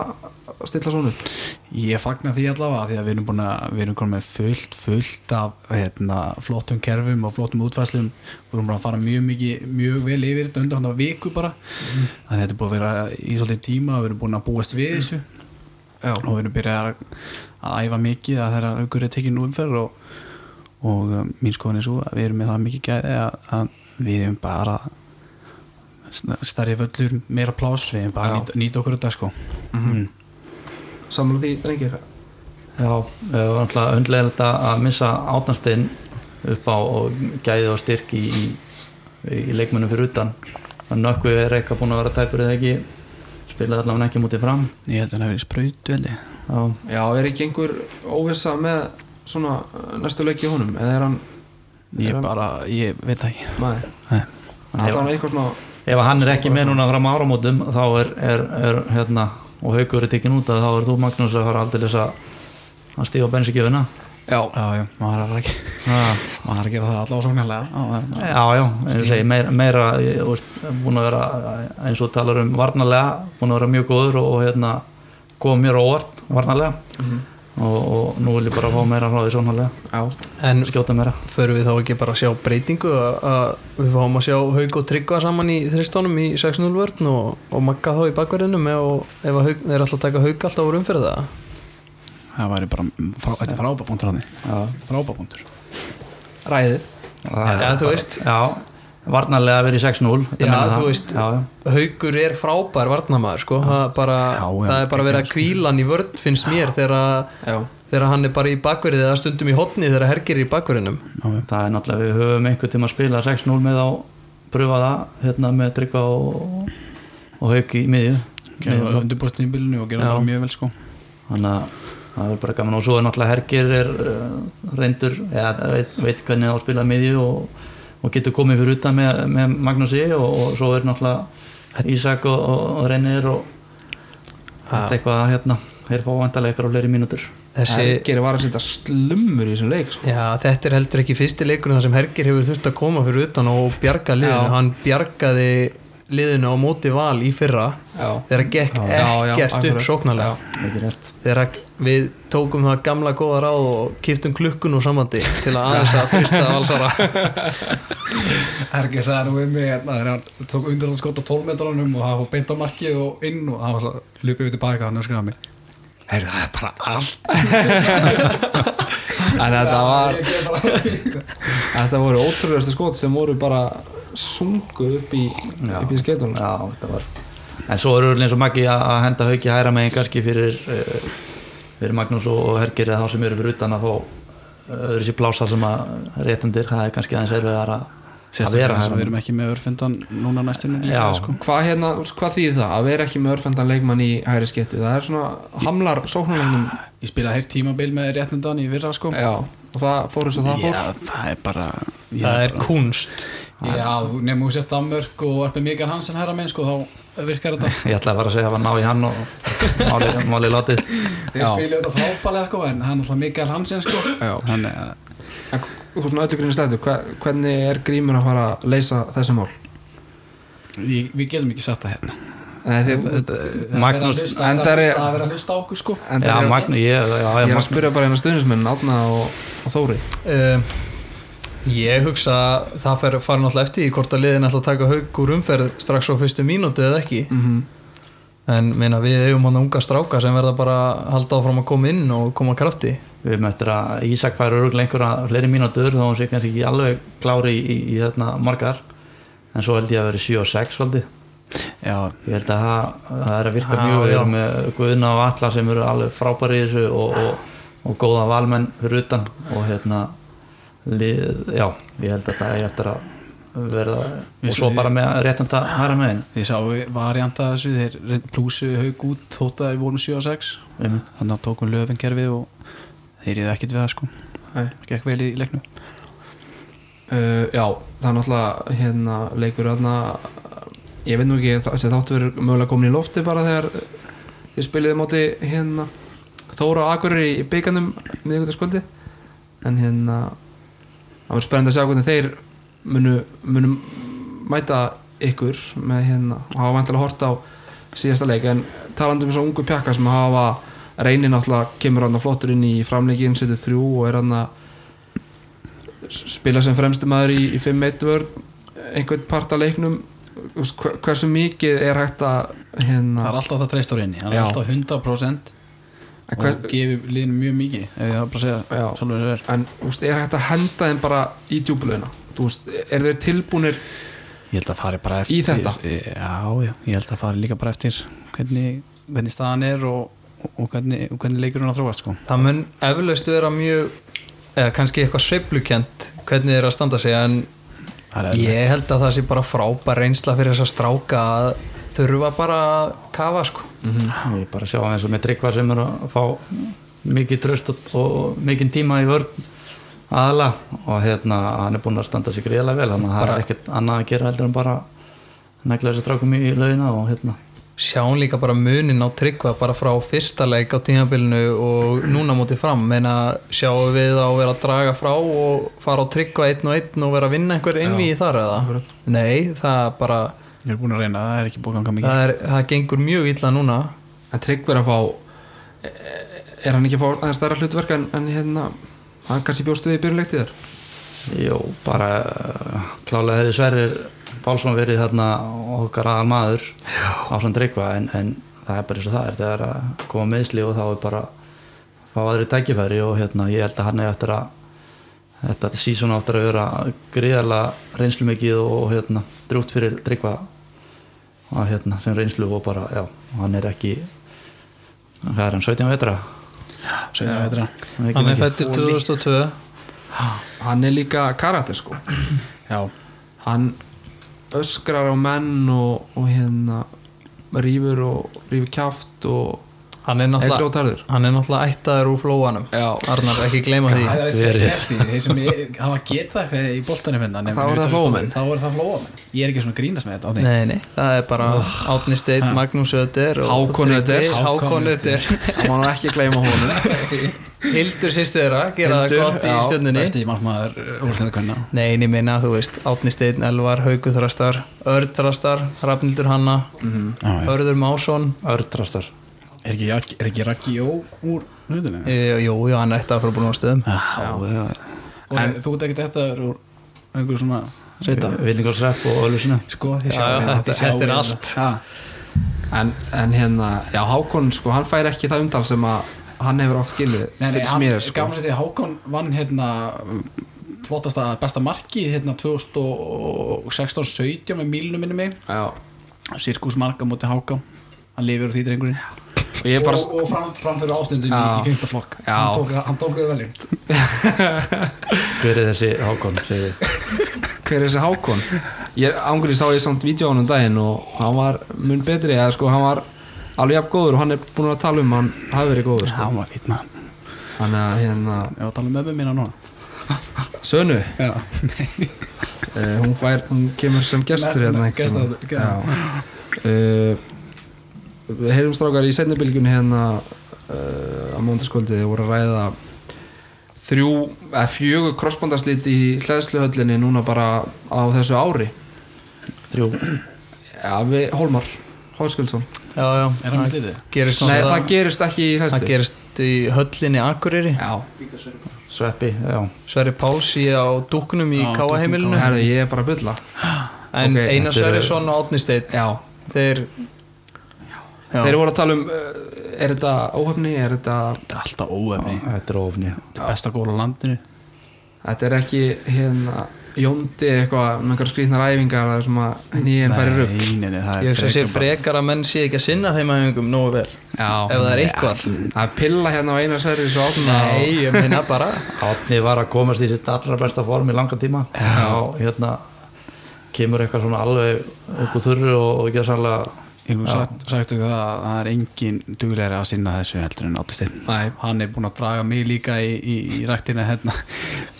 að stilla svona upp. Ég fagna því allavega því að við erum búin að við erum komin með fullt, fullt af hérna, flottum kerfum og flottum útfæslum við erum búin að fara mjög mikið mjög vel yfir þetta undan hann viku bara Mhm. mm. að þetta er búin að vera í svolítið tíma og við erum búin að búast við þessu Já. og við erum byrjað að, að æfa mikið að þeirra aukur er tekinn umferð og, og um, mín skoðan er svo að við erum með það mikið gæði að, að við erum bara starri völlur, meira pláss við erum bara að nýta, nýta okkur þetta sko mm. Samlega því, drengir, já eh, var alltaf undlega að missa átnastinn upp á og gæði og styrk í, í, í leikmönnum fyrir utan að nökkvið er eitthvað búin að vera tæpur eða ekki spilaði allavega ekki mútið fram Ég held að hann hafi verið spröytu held ég já, já, er ekki einhver óvissa með svona eh, næstu leiki í honum, eða er hann Ég bara, ég veit það ekki maður? Nei. Það er hann eitthvað svona ef að hann er ekki með núna fram á áramótum þá er, er, er hérna og haugur er tekinn út að þá er þú Magnús að fara aldrei að að stífa bensikjöfuna Já, Ah. já, já, maður er að fara ekki Maður er að gera það allavega sóknarlega Já, það er- já, já, eins og segi, meira, meira ég, þú veist, búin að vera, eins og þú talar um varnarlega, búin að vera mjög góður og, og hérna, kom mér á óvart varnarlega Mhm. og, og nú vil ég bara fá meira frá því sónarlega en skjóta meira förum við þá ekki bara að sjá breytingu að, að við fáum að sjá Haug og Tryggva saman í þristónum í 6-0 vörn og, og Magga þá í bakverðinum ef, ef að Hauk, þeir er alltaf að taka Haug alltaf úr umfyrir það það væri bara frá, Þetta er frábapunktur hann Frábapunktur ræðið já, Já, þú veist. já, varnarlega verið 6-0 þetta Já, meina það. þú veist. já, já. Haugur er frábær varnamaður sko. það, er bara, Já, já, það er bara verið að kvíla hann í vörn finnst mér þegar, Já. að, þegar hann er bara í bakverðið eða stundum í hotni þegar Hergir er í bakverðinum það er náttúrulega við höfum einhvern tíma að spila 6-0 með á pröfa það hérna með Tryggva og, og Hauk í miðju Gerða það undirbústin í bylunni og gerða það mjög vel sko þannig að það er bara gaman og svo er náttúrulega Hergir er uh, reyndur eða veit, veit hvernig á að spila miðju og, og getur komið fyrir utan með, með Magnúsi og, og svo er náttúrulega Ísak og, og, og Reynir og þetta er eitthvað hérna þeir fá vantarlega ykkur á fleiri mínútur þessi, Hergeri var að setja slummur í þessum leik sko. Já, þetta er heldur ekki fyrsti leikurinn þar sem Hergir hefur þurft að koma fyrir utan og bjarga liðinu, hann bjargaði liðinu á móti val í fyrra Já. þegar það gekk Já, já, ekkert akkurat. upp sóknarlega ekki rétt þegar að við tókum það gamla góða ráð og kiptum klukkun úr samandi til að aðeins að fyrsta valsara Ergis það er nú um mig hérna Þegar hann tók undir það skot á 12 metranum og það var beint á markið og inn og það var svo lupið við tilbaka hann öskraði mig Heyrðu, það er bara allt en þetta var þetta voru ótrúðustu skot sem voru bara sunguð upp í, upp í skeitunum Já, þetta var En svo eru eins og Maggi að að henda hauki hæra megin kannski fyrir, eh, fyrir Magnús og Hergir eða þá sem eru fyrir utan að fá öðru sér plása sem að réttandir, það er kannski aðeins erfiðar að, að vera Sérstaklega sem við hæra megin erum ekki með örfundan núna næstunni Já. líka sko hvað, hérna, þú veist, hvað þýðir það að vera ekki með örfendan leikmann í hægri skeitu það er svona hamlar sóknarlegnum Ég spilaði heilt tímabil með réttundan í virra sko já, og það fór eins og það fór Já, það er bara ég það bara- er kunst Já, þú nefnum þú sett Danmörk og Arpe Mikael Hansen herra minn sko, þá virkar þetta Ég ætlaði bara að segja að ná í hann og máli, máli látið Þeir spilja þetta frábælega sko, en hann er alltaf Mikael Hansen sko Já, hann er en þú svona öllu grínist eftir hve- hvernig er grímur að fara að leysa þessi mál Við við getum ekki sagt það hérna Nei, þið, Magnús, Það endari- er að vera að hlusta á okkur sko en já, það er, Magnús, ég, já, já, hérna. ég er að Magnús spyrja bara eina stuðnismenn Átna og, og Þóri Um, ég hugsa að það fer farin alltaf eftir í hvort að liðin ætla að taka haug úr umferð strax á fyrstu mínútu eða ekki Mhm. en meina við eigum hann unga stráka sem verða bara að halda áfram að koma inn og koma að krafti Við höfum eftir að Ísak fær öruglega einhverja fleiri mínútur þá hún sé kannski ekki alveg klári í, í, í þarna margar en svo held ég að vera 7 og 6 svolítið Já, Ég held að það, það er að virka Já, mjög vel já. með Guðna og Alla sem eru alveg frábæri í þessu og, og Ah. og góða valmenn fyrir utan og hérna lið, já, ég held að þetta er eftir að verða og svo bara með réttanda hæra meðin Ég sá variant að þessu, þeir plúsu haug út þótt að þeir voru 7 og 6 Einmitt. þannig að tókum löfin kerfið og þeir eru ekkert við það sko Nei. gekk vel í leiknum Uh, já, það er náttúrulega hérna leikur hérna ég veit nú ekki, þa- þessi þáttu verið mögulega komin í lofti bara þegar uh, þið spiliði móti hérna Þóra og Akureyri í bygganum miðvíkutaskvöldi en hérna það verður spennandi að sjá hvernig þeir munu, munu mæta ykkur með hérna og hafa vantilega hort á síðasta leik en talandi um þessu ungu pjakka sem hafa reynir náttúrulega kemur hann flottur inn í framleikin setur þrjú og er hann að spila sem fremstu maður í, í 5-1 vörn einhvern part að leiknum Þú veist, hver- hversu mikið er hægt að Það er hérna, alltaf það treyst á reyni, það er Já. alltaf 100% en og hver, gefur liðinu mjög mikið ef ég það bara að segja Já. sjálfur þess að vera en þú veist, er hægt að henda þeim bara í djúbulöðina Þú veist, er þeir tilbúnir Ég held að fari bara eftir Í þetta? Já, já, ég held að fari líka bara eftir hvernig, hvernig staðan er og, og hvernig, og hvernig leikur hún að þróast sko. það mun eflaust vera mjög eða kannski eitthvað sveiflukent hvernig þeir eru að standa sig en Það er ég held að það sé bara frábær reynsla fyrir þess að stráka að þurfa bara að kafa sko ég bara sjá hann eins og með tryggvar sem er að fá mikið tröst og, og mikið tíma í vörn aðla og hérna hann er búinn að standa sig greiðlega vel þannig að það er ekkert annað að gera heldur en bara negla þessi strákum í laugina og hérna sjáum líka bara munin á tryggva bara frá fyrsta leik á tímabilinu og núna móti fram meina sjáum við á að vera að draga frá og fara á tryggva einn og einn og vera að vinna einhver innví í þar eða nei, það bara Ég er búin að reyna, það er ekki búin að ganga mikið það, er, það gengur mjög illa núna en Tryggver að fá e- er hann ekki að fá aðeins stærra hlutverk en, en hérna, hann kannski bjóst við í byrjuleiktiðar Jó, bara eh, klálega hefði Sverrir Pálsson verið þarna okkar aðal maður ásand reikva en, en það er bara eins og það er þegar að koma meðsli og þá er bara að fá aðri tækifæri og hérna ég held að hann er eftir að þetta sísón áttur að vera gríðarlega reynslu mikið og hérna drjútt fyrir Tryggva að hérna sem reynslu og bara já, hann er ekki hvað er hann, 17 vetra Sveina veitra Ekki hann er mikið. fættur 2002 hann er líka karakter sko Já, hann öskrar á menn og, og hérna rýfur og rýfur kjaft og hann er er náttúrulega grjótarður hann er náttúrulega ættaður úr flóanum Já. Arnar, ekki gleyma því það Gæti verið. eftir þeir sem ég- hafa getað eitthvað í boltanum hérna nema Þá voru það utan- flóamenn. Þá voru það flóamenn Ég er ekki svona að grínast með þetta á því Nei, nei, það er bara Átni Steinn, Magnús Öder Hákon Ödder. Hákon Hákon Öder það má hann ekki gleyma honum Hildur sýstir þeirra, gera það Hildur, gott í já, stjórnunni Besti uh, margmaður úrlega kvenna Nei, ég minna, þú veist, Átni Steinn, Elvar, Haugu Þrastar, Örd Þrastar, Rafnildur Hanna, Mhm. Já, já. Örður Másson, ördrastar Er ekki Jak- er ekki Raggi Jó úr hlutinu? e, jú, jú, hann er eftir að um. fara búin á stöðum. Já, já. En þú ert ekkert þetta úr einhverju svona sveita Vildingarsrepp og Ölfusinu Sko, þið Já, sjáum já, þetta- þetta er allt. en, en hérna, já Hákon sko, hann fær ekki það umtal sem að hann hefur átt skilið Nei, nei, fyrir hann mér sko. sko. gaman sér því að Hákon vann hérna mm, flottasta besta markið hérna 2016-17 með mílunum minni mig Já. sirkusmarka móti Hákon hann lifir úr því drengurinn og ég bara og, og fram, framfyrir ástundum í, Já. í 5. flokk Já. hann tók, hann tók þau veljum Hver er þessi Hákon? segir þið? hver er þessi Hákon ég ángrið sá ég samt vídjóanum um daginn og hann var mun betri eða sko hann var alveg jafn góður og hann er búin að tala um að hann hafi verið góður sko. hann var fýtt maður hann er hérna ég var að tala um ömmu mína núna Sönu, já, uh, hún, fær, hún kemur sem gestur hérna einhvern tímann. Gestaþáttur, já. Já. Eh, við heyrðum strákar í setnibylgunni hérna uh, á móndaskvöldi þeir voru að ræða þrjú, eða fjögur krossbandarslít í hlæðsluhöllinni núna bara á þessu ári Þrjú ja, við Hólmar Hóðskuldsson Já, já, er hann með slitið? gerist Nei, það náttúrulega, gerist ekki í það hlæðslu gerist í höllinni Akureyri, Já, Sveppi, já Sverri Pálsi á dúknum í Á Káaheimilinu, herðu, ég er bara að bylla ok, en Einar þetta eru- Sverrisson og Átni Steinn, Já, þeir... Já. þeir voru að tala um eh, er þetta óhefni, er þetta þetta er alltaf óöfni Þetta er ofni besta góla á landinu Þetta er ekki hérna jóndi eitthvað með einhverja skrýtnar æfingar það er sem að nýjan færi rugg Nei, nei, nei, það er Ég hugsa að sé frekar bara- frekar að menn sé ekki að sinna þeim aðeingum nógu vel Já. Ef það er eitthvað Það er pilla hérna á einar sverri svo átna Nei, ég meina bara Átni var að komast í sitt allra besta form í langa tíma og hérna kemur eitthvað svona alveg upp úr þurru og, og ekki að sannlega Ég nú sagt, sagtu það að það er engin duglegri að sinna þessu heldur en Átni Steinn Nei, hann er búinn að draga mig líka í, í, í rættina hérna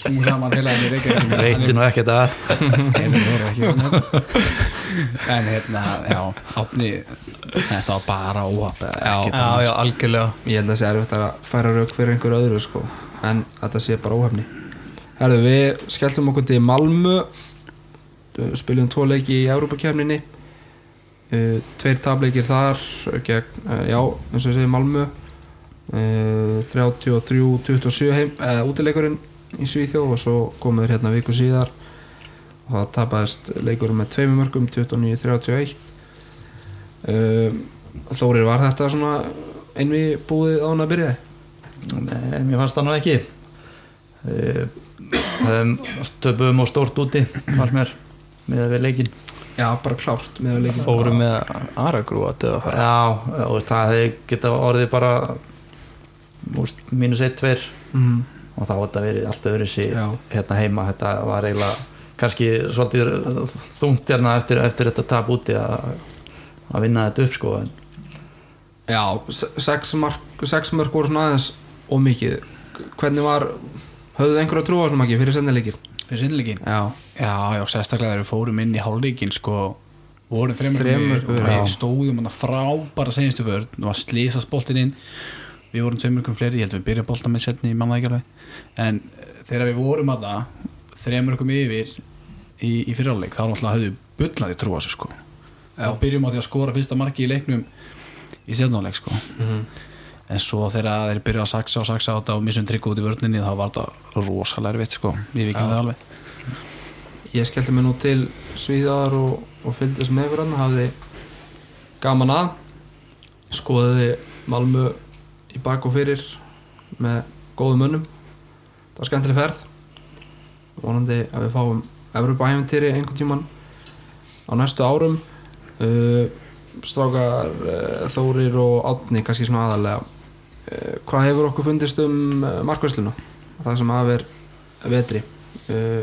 hún saman heila hann í Reykjavík reyti nú ekkert að Nei, nei, voru ekki svona. En hérna, já, átni þetta var bara óhapp Já, já, algjörlega Ég held að það sé erfitt að færa rugg fyrir einhver öðru sko. en þetta sé bara óhefni Herðu, við skelltum okkur til Malmö spilum tvo leiki í Evrópakefninni uh, tveir tableikir þar gegn, uh, já, eins og ég segi Malmö uh, 33-27 heim uh, útileikurinn í Svíþjóð og svo komum við hérna viku síðar og það tapaðist leikurinn með tveimur mörgum 29-31 uh, Þórir var þetta svona einvið búið á hann að byrja Nei, mér fannst það nú ekki um, Töpum og stórt úti fannst mér með við leikinn Já, bara klárt með að leikja Fórum með Aragrúa til að fara Já, og það hefði geta orðið bara úst, mínus 1-2 mm. og þá var þetta verið allt öðru Já. hérna heima, þetta var eiginlega kannski svolítið þungt hérna eftir, eftir þetta tap úti að að vinna þetta upp sko en Já, se- sex, mark, sex mörg voru svona aðeins og mikið Hvernig var, höfðu þið einhverju að trúa svona mikið fyrir sendileikir? Fyrir sinnleikin Já, Já, já, sérstaklega þegar við fórum inn í hálfleikin sko, vorum þreymur Þremur, og já. við stóðum hann frábara senstu vörn og að slýsast boltin inn við vorum tveimur ykkur fleiri, ég held við byrja boltan með setni í mannækjarlega en eh, þegar við vorum að það þreymur ykkur yfir í, í fyrirháleik þá náttúrulega höfðu bullandi trú á þessu sko þá byrjum á því að skora fyrsta marki í leiknum í setnáleik sko Mhm. en svo þegar þeir byrja að saksa og saksa á þetta og missum trygg út í vörninni þá var þetta rosalega erfitt sko við vikjum það alveg ég skellti mig nú til Svíðar og, og fylgdist með ykkur hann hafði gaman að skoðiði Malmö í bak og fyrir með góðum mönnum það var skemmtileg ferð vonandi að við fáum Evropa æfintýri einhvern tíman á næstu árum uh, strákar uh, Þórir og Átni kannski svona aðalega uh, hvað hefur okkur fundist um uh, markvæsluna það sem af er vetri uh,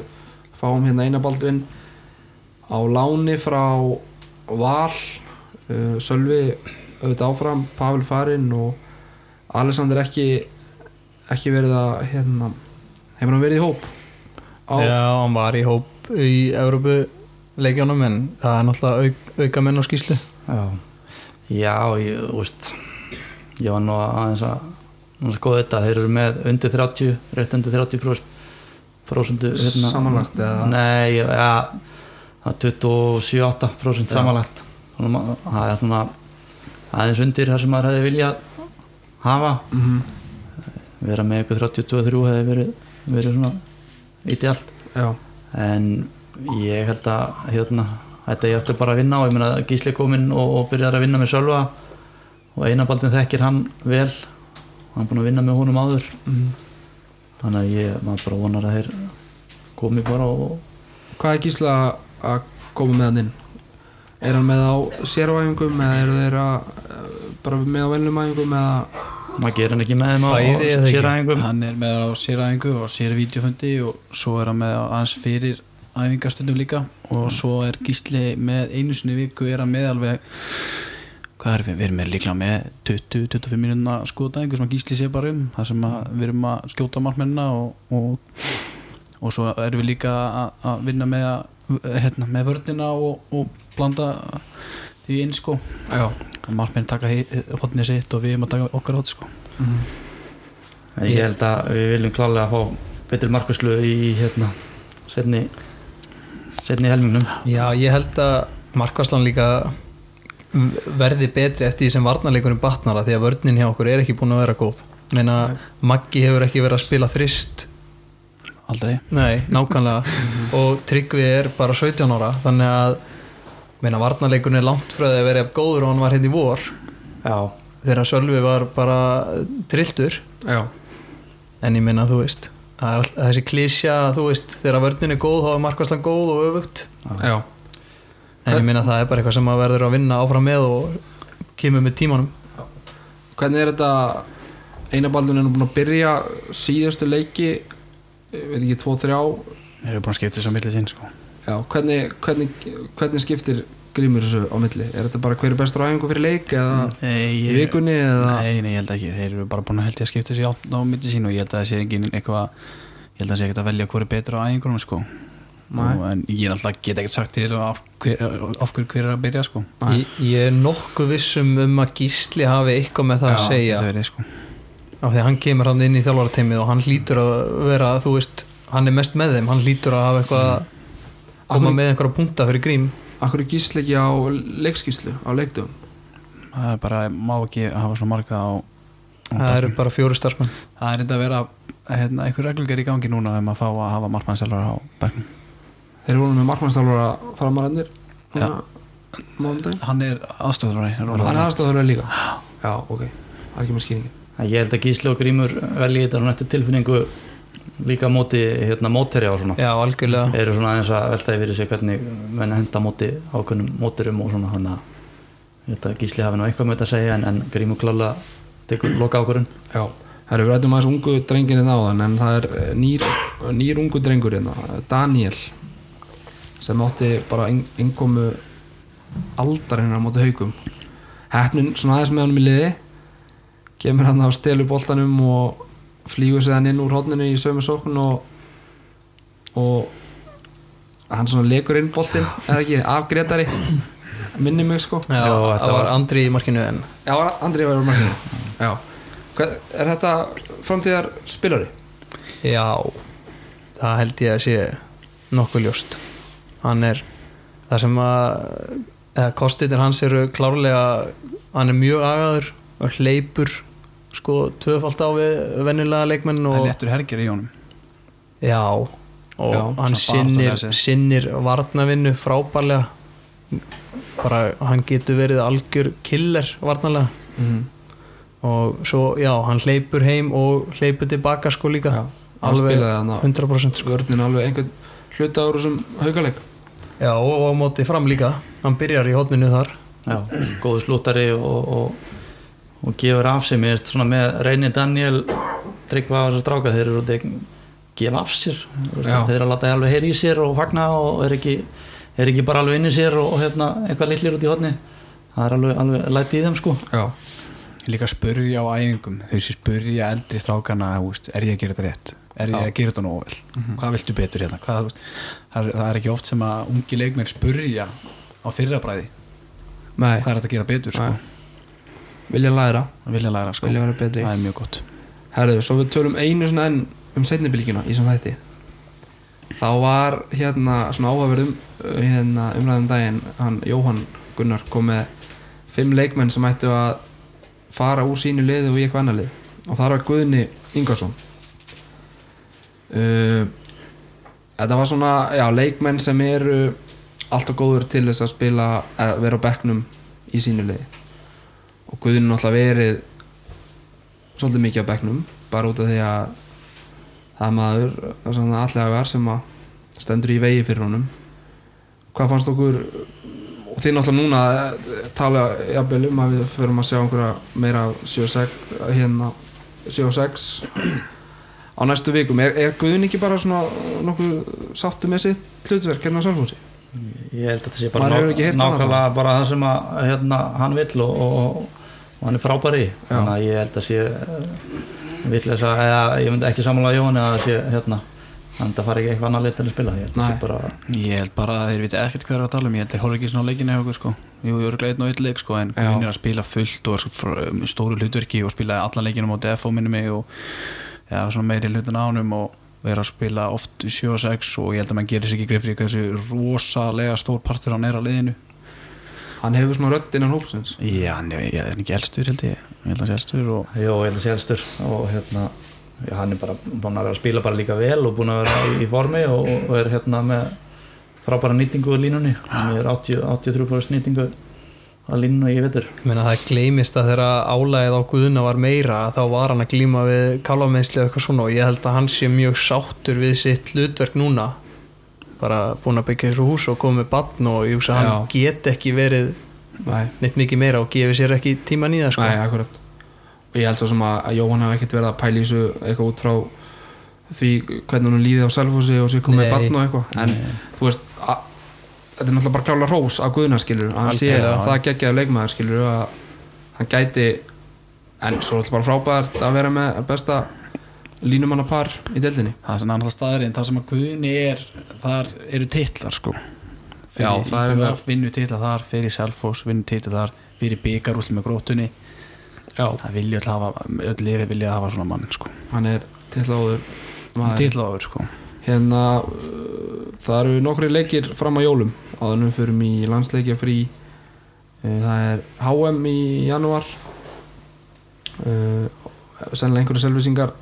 fáum hérna Einar Baldvin á láni frá Val uh, Sölvi auðvitað áfram Pavel Farin og Alexander ekki ekki verið að hérna, hefur hann verið í hóp á, Já, hann var í hóp í Európu leikjónum en það er náttúrulega auk, auka menn á skýslu já, já ég, úst, ég var nú aðeins að nú skoði þetta, þeir eru með undir 30 rétt undir 30 próst prósundu hérna, Samanlagt, eða? nei, já, það er 27-8 prósund samanlagt Þannig að ma- það er svona aðeins undir það sem maður hefði viljað hafa Mhm. vera með eitthvað 32-3 hefði verið, verið svona idealt já, en ég held að hérna, þetta ég ætti bara að vinna og ég meina að Gísli er kominn og, og byrjar að vinna með Sölva og einabaldin þekkir hann vel hann er búinn að vinna með honum áður mhm. þannig að ég, maður bara vonar að þeir komi bara og hvað er Gísla að koma með hann inn er hann með á séruæfingum eða eru þeir að eh, bara með á vennlum æfingum eða maður gerir hann ekki með þeim á Bæði eða ekki? séræðingum hann er með á séræðingu og sérvídeofundi og svo er hann með á aðeins fyrir æfingarstundum líka og svo er Gísli með einu sinni í viku er hann með alveg hvað er við, við erum með líklega með 20-25 mínúna skotæðingu sem að Gísli sé bara um það sem að við erum að skjóta markmennina og, og, og svo erum við líka að- að vinna með, að- hérna, með vördina og, og blanda því inn sko já, markmenn taka hodnið sitt og við erum að taka okkar hodn sko En ég held að við viljum klálega að fá betri markvæslu í hérna setni, setni helmingnum Já, ég held að markvarslan líka verði betri eftir því sem varnarleikunum batnar að því að vörnin hjá okkur er ekki búin að vera góð meina Maggi hefur ekki verið að spila þrist aldrei nei, nákvæmlega og Tryggvi er bara 17 ára þannig að meina varnarleikunum er langt frá því að vera jafn góður og hann var hérna í vor Já, þegar Sölvi var bara trilltur já, en ég meina þú veist það er all, þessi klísja þú veist, þegar vörnin er góð þá er markværslan góð og öfugt já, en ég minna það er bara eitthvað sem maður verður að vinna áfram með og kemur með tímanum hvernig er þetta einabaldun er nú búin að byrja síðustu leiki eh, veit ekki, 2-3 Þeir eru búin að skipta þessu á milli sín sko. já, hvernig, hvernig, hvernig skiptir grímur þessu á milli er þetta bara hver er bestur á æfingu fyrir leik eða Nei, í vikunni eða Mm. Eh, Nei, nei, ég held ekki, þeir eru bara búin að held ég að skipta þessi á, á myndi sín og ég held að það sé engin eitthvað ég held að það sé ekkert að velja hver er betra á æfingunum sko. og, en ég náttúrulega get ekkert sagt þér af, hver- af hverju hver er að byrja sko. ég, ég er nokkuð vissum um að Gísli hafi eitthvað með það að segja þetta verið, sko. af því að hann kemur hann inn í þjálfarateimið og hann hlýtur að vera, þú veist hann er mest með þeim, hann hlýtur að hafa eitthvað að koma Akkur- með einhverja punta fyrir grím akkur er gísl ekki á leikskíslu á leikdum það er bara, má ekki hafa svona marga á, á það eru bara fjóri starfsmenn það er þetta að vera hérna, einhver reglugger í gangi núna um að fá að hafa markmannselvar á bergnum þeir voru með markmannstálfur að fara maður ennir Já. mánudaginn hann er aðstofðurari hann er aðstofðurlega líka já, ok, það er ekki með skýringin Ég held að Gísli og Grímur velji þetta svona eftir tilfinningu líka á móti hérna mótherja og svona já, algjörlega eru svona aðeins að veltaði fyrir sig hvernig menn henda á móti ákveðnum móturum og svona hann að ég held að Gísli hafi nú eitthvað með þetta að segja en, en Grímur klála tekur loka ákvörun Já, það eru við rættum aðeins ungu drengin hérna áðan en það er eh, nýr, nýr ungu drengur hérna, Daniel sem átti bara innkomu aldar hérna á móti haugum hefnin svona aðeins með honum í liði kemur hann á stelu boltanum og flýgur séðan inn úr hodninu í sömu sókn og, og hann svona lekur inn boltin eða ekki, afgretari minni mig sko já, það var Andri í markinu en Já, Andri var markinu Já Hver, Er þetta framtíðar spilari? já, það held ég að sé nokkuð ljóst hann er það sem að eða, kostitir hans eru klárlega hann er mjög agaður og hleypur sko tvöfalt á við vennilega leikmenn og... og lettur hergir í honum Já, og Já, hann svona baráttulega sinnir, séð. sinnir varnavinnu frábærlega bara hann getur verið algjör killer varnalega Mm. og svo, já, hann hleypur heim og hleypur tilbaka sko líka Já, hann alveg spilaði hann á 100% sko. Skvörnin alveg einhvern hluta úr þessum haugaleik Já, og, og á móti fram líka hann byrjar í hotninu þar Já, góðu slúttari og, og, og gefur af sér mér finnst svona með Reyni Daniel Tryggva og þessar stráka, þeir eru út að gefa af sér, þú veist, Já. þeir eru að láta alveg heyri í sér og fagna og er ekki er ekki bara alveg inn í sér og, og hérna, eitthvað litlir út í hotni það er alveg, alveg læti í þeim sko Já, Ég líka að spurja á æfingum þau sem spurja eldri strákana þú veist, er ég að gera þetta rétt, er ég að gera þetta nógu vel Mhm. hvað viltu betur hérna hvað, þú veist, það, er, það er ekki oft sem að ungi leikmenn spurja á fyrrabræði nei, hvað er þetta að gera betur sko? Nei. vilja læra Að vilja læra sko. Vilja vera betri. það er mjög gott Herðu, svo við tölum einu svona enn um setnibylgina í sem þætti þá var hérna svona áhafverðum hérna, umræðum daginn hann Jóhann Gunnar kom með fimm leikmenn sem ættu að fara úr sínu liði og í eitthvað annar lið og það var Guðni Ingarsson uh, Þetta var svona já, leikmenn sem eru allt og góður til þess að spila að vera á bekknum í sínu liði og Guðni er náttúrulega verið svolítið mikið á bekknum bara út af því að það er maður svona allega verð sem að stendur í vegi fyrir honum hvað fannst okkur og þið náttúrulega núna eh, tala jafnvel um að við förum að sjá einhverja meira af 7-6 hérna 7-6 á næstu vikum, er, er Guðin ekki bara svona nokkuð sáttu með sitt hlutverk hérna á Salfósi? ég held að það sé Maður bara hefur ekki heyrt annað nákvæmlega bara það sem að, hérna, hann vill og, og, og hann er frábæri í. þannig að ég held að sé vill að, eða, ég myndi ekki samanlega Jón eða að sé hérna hann þetta fara ekki eitthvað annað leitt en að spila ég held að Nei. sé bara ég held bara að þeir vita ekkert hvað er að tala um ég held að þeir horfa ekki svona á leikinu hjá okkur sko. jú, ég örglega einn og einn leik sko, en Já. hún er að spila fullt og er fr- með stóru hlutverki og spila allan leikinu á DFO minni mig og ja, svona meiri hlutin á honum og vera að spila oft 7 og 6 og ég held að mann gerir sér ekki greið fyrir hversu rosalega stór partur hann er á liðinu Hann hefur svona rödd innan hópsins já, hann er ég er hann ekki elstur held ég ég held að hann sé elstur og Jó, ég held að sé helstur og hérna já, hann er bara búin að vera að spila bara líka vel og búin að vera í, í formi og, og er hérna með frábæra nýtingu í línunni hann er 80 83% nýtingu á að línu í vetur Ég meina það gleymist að þegar álægið á Guðuna var meira þá var hann að glíma við kálfameinsli eða eitthvað svona og ég held að hann sé mjög sáttur við sitt hlutverk núna bara búin að byggja þessu hús og komið með batn og ég hugsa að hann get ekki verið Nei, neitt mikið meira og gefið sér ekki tíma nýða sko. Nei, akkurat og ég held svo sem að, að Jóhann hef ekkert verið að pæla í þessu eitthvað út frá því hvernig hún líði á selfhósi og sér komið Nei. barn og eitthvað en þú veist að, þetta er náttúrulega bara klála rós af Guðna skilur að hann sé Algjörlega, að það geggjaði leikmaður skilur að hann gæti en svo er alltaf bara frábært að vera með besta línumannapar í deildinni það er svona annars staðurinn það sem að Guðni er, þar eru titlar sko Já, það er enda- það vinnu titla þar, fyrir Selfos vinnu titla þar, fyrir byggarúll með grótunni Já. það vilja öll hafa, öll lifi vilja hafa svona mann sko, hann er tilláður maður titla áður sko hérna uh, það eru nokkri leikir fram að jólum áður en við förum í landsleikja frí uh, það er HM í janúar uh, sennilega einhverju selvisingar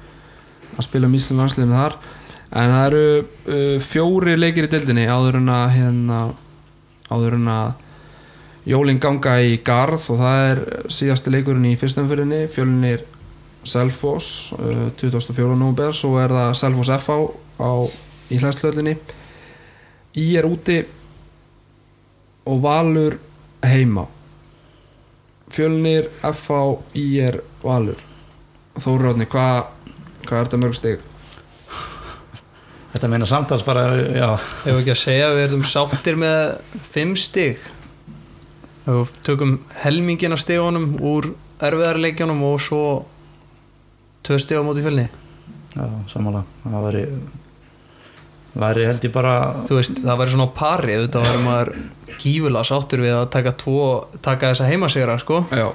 að spila um Ísland landsliðinu þar en það eru uh, fjóri leikir í deildinni áður en að hérna, áður en að jólin ganga í garð og það er síðasti leikurinn í fyrstumfyrðinni fjölunir Selfoss uh, 24. november svo er það Selfoss FH á í hlæstlöllinni Í er úti og Valur heima Fjölnir, FH, Í er Valur Þóri Róðni, hvað hva er þetta mörg stig? Þetta meina samtals bara, já, Ef við ekki að segja að við erum sáttir með fimm stig ef við tökum helmingin af stigunum úr erfiðarleikjunum og svo tvö stig á móti fjölni já samanlega, það væri, væri held ég bara, þú veist, það væri svona á pari auðvitað væri maður gífulega sáttur við að taka, tvo, taka þessa heimasegra sko. Já,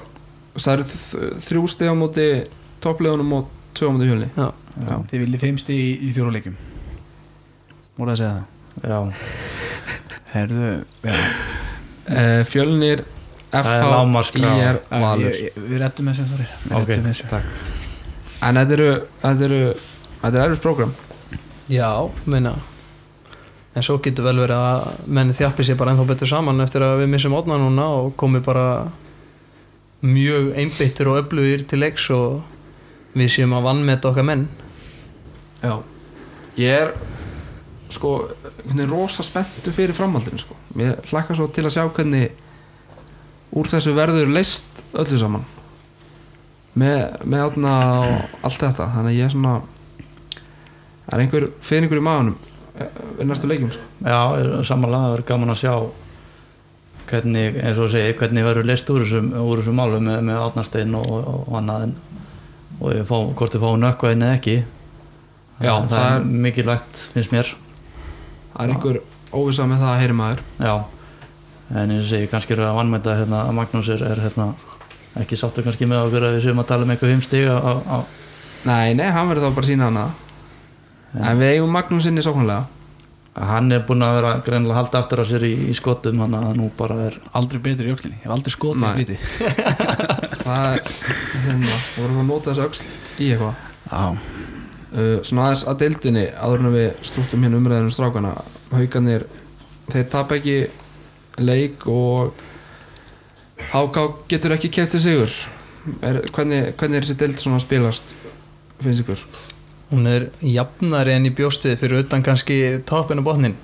það eru þ- þrjú stig á móti topplegunum og tvö á móti fjölni Já. þið viljið fimmst í, í fjóruleikum voruð að segja það já, Herðu, já, uh, Fjölnir, Eh, Það er FH, lágmarkskrafa. Í er Valur ég, ég, við rettum þessu Þóri Við Ok, réttum þessu. takk. En þetta eru, þetta eru, þetta er erfitt program já, meina en svo getur vel verið að menn þjappi sér bara ennþá betur saman eftir að við missum ótna núna og komi bara mjög einbyttir og öflugir til leiks og við séum að vannmeta okkar menn Já Ég er sko hvernig, rosa spenntu fyrir framhaldinu sko. Mér hlakka svo til að sjá hvernig úr þessu verður leist öllu saman með, með átna og allt þetta þannig að ég er svona það er einhver fyrningur í maðunum við næstu leikjum sko. já, samanlega, það verður gaman að sjá hvernig, eins og þú segir, hvernig verður list úr þessum, úr þessum málum með, með átnarstein og, og, og annað en, og ég fá, hvort þið fá nökkvæðin eða ekki, Já, það, það er mikilvægt, finnst mér, það er einhver óvisa með það að heyri maður já, en eins og segir, kannski eru að vannmæta hérna, að Magnús er, er hérna, ekki sáttur kannski með okkur að við séum að tala um eitthvað fimmstig á, á, á, Nei, nei, hann verður þá bara að sína hana en við eigum Magnús inni sákvæmlega Hann er búinn að vera greinlega að halda aftur á sér í, í skotum hann að nú bara er Aldrei betur í öxlinni, ég hef aldrei skotið Nei. í viti það er hérna, vorum við að nota þessu öxl í eitthvað Já, Uh, svona aðeins að deildinni áður en við slúttum hérna umræðinu um strákana haugarnir, þeir tap ekki leik og HK getur ekki kæft til sigur er, hvernig, hvernig er þessi deild svona að spilast finnst ykkur? hún er jafnari enn í bjóstuði fyrir utan kannski toppin og botnin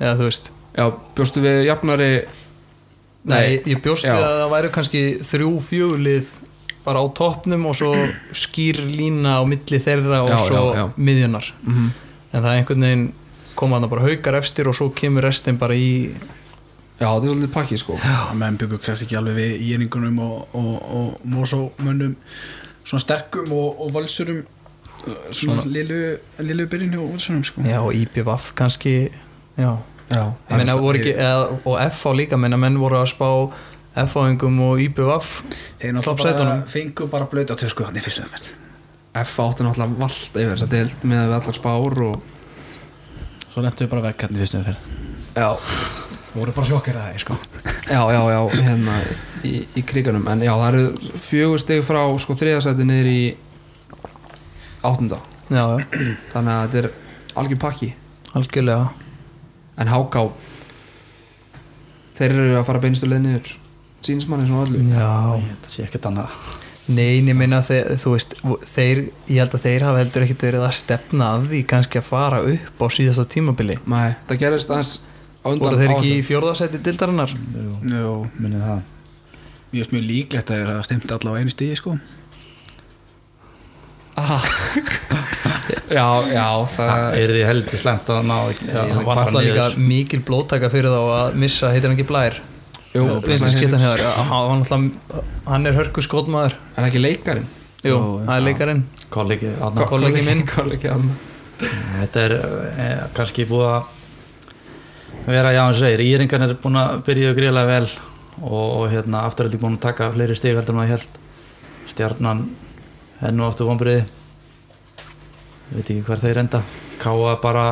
eða þú veist Já, bjóstu við jafnari Nei, ég bjóst við já. að það væri kannski þrjú fjúlið bara á toppnum og svo skýr lína á milli þeirra og Já, svo já, já. miðjunar mm en það er einhvern veginn koma hann bara haukar efstir og svo kemur restin bara í Já, þetta er svolítið pakki sko menn byggur kannski ekki alveg við í einingunum og, og, og mósómönnum svona sterkum og, og valsurum svona, svona lilu, lilu byrjun og valsurum sko já, IPVF kannski já, Já, Ég meina, voru ekki, eða, og FH líka meina, menn voru að spá FH-ingum og IPVF þeir Topp náttúrulega bara sætunum. fengu bara blöta törsku hann í fyrstu umferð F átti náttúrulega vallt yfir þessa deild með að við allar spár og svo lentum við bara vekk hann í fyrstu umferð Já, voru bara sjokkir að það sko Já, já, já, hérna í, í kriganum En já, það eru fjögur stig frá sko þriðasæti niður í áttunda já, já, Þannig að þetta er algjör pakki algjörlega En háká þeir eru að fara beinustu leið niður sínismanni svona öllu Já, þetta sé ekkert annað nein, ég minna þeir, þú veist, þeir, ég held að þeir hafa heldur ekkert verið að stefna að því kannski að fara upp á síðasta tímabili Nei, það gerist aðeins á undan voru þeir ekki áætlun. í fjórðasæti dildarinnar Jó, minnið það ég veist mjög líklegt að það er að stimta allavega einu stíði sko Já, já, það Það er því heldur slæmt að ná Já, það var alltaf líka mikil blóttaka fyrir þá að missa, heitir hann ekki Blær Jú, Vincent Blær Skittan Henriks. hefur, hann var náttúrulega hann er hörku skotmaður Er það ekki leikarinn? Jú, Jú, það er leikarinn kollegi Ko- annað kollegi minn. Kollegi hann Þetta er eh, kannski búið að vera já hann segir, Íringan er búin að byrja gríðlega vel og, og hérna afturhaldi búin að taka fleiri stig heldur en að held stjarnan hennu áttu vonbriði veit ekki hvar þeir enda Káa bara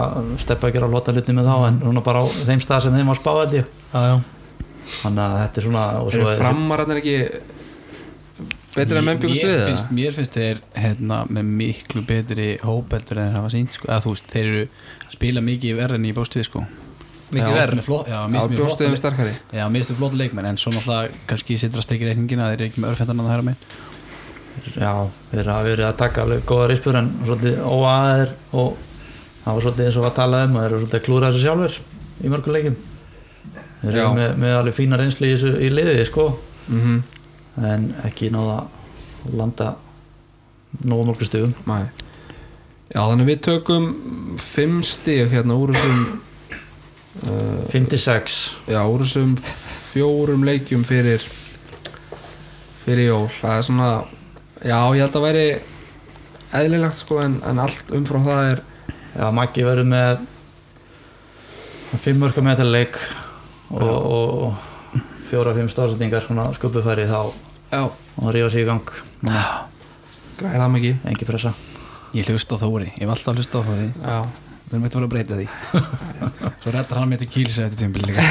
steppa ekki á lota hluti með þá en núna bara á þeim stað sem þeim var spáð held ég Já, já þannig að þetta er svona og Eru er- framararnir ekki betur en menn byggust við mér það? finnst, mér finnst þeir hérna, með miklu betri hópeldur en þeir hafa sínt sko. að þú veist, þeir eru að spila mikið verð en í bóstuði sko Mikið Já, verð. með flott- já, Já, mér finnst mjög bjóstuðum flott sterkari já, mér finnst þú flott leikmenn en svo náttúrulega kannski sittur að strikja reikningin að þeir eru ekki með örfendan að það herra minn Já, þeir hafa verið að taka alveg góða rispur en svolítið óaðir og það var svolítið eins og var að tala um og þeir eru svolítið að klúra þessu sjálfur í mörgum leikum þeir Já. eru með, með alveg fína reynslu í, þessu, í liðið sko mm -hmm. en ekki náða að landa nógu mörgum stugum Já, þannig að við tökum fimm stík hérna úr þessum 56 Já, úr þessum fjórum leikjum fyrir fyrir jól það er svona, já ég held að væri eðlilegt sko en, en allt umfram það er Já, Maggi verður með fimm mörgum með þetta leik og, og fjóra-fimm stafsendingar svona skubbufæri þá já, og rífa sig í gang græðir það mikið engi pressa ég hlusta á Þóri, ég hef alltaf hlusta á Þóri já, þeir eru meitt að vera að breyta því svo rettar hann með til kýlsa eftir tímpil líka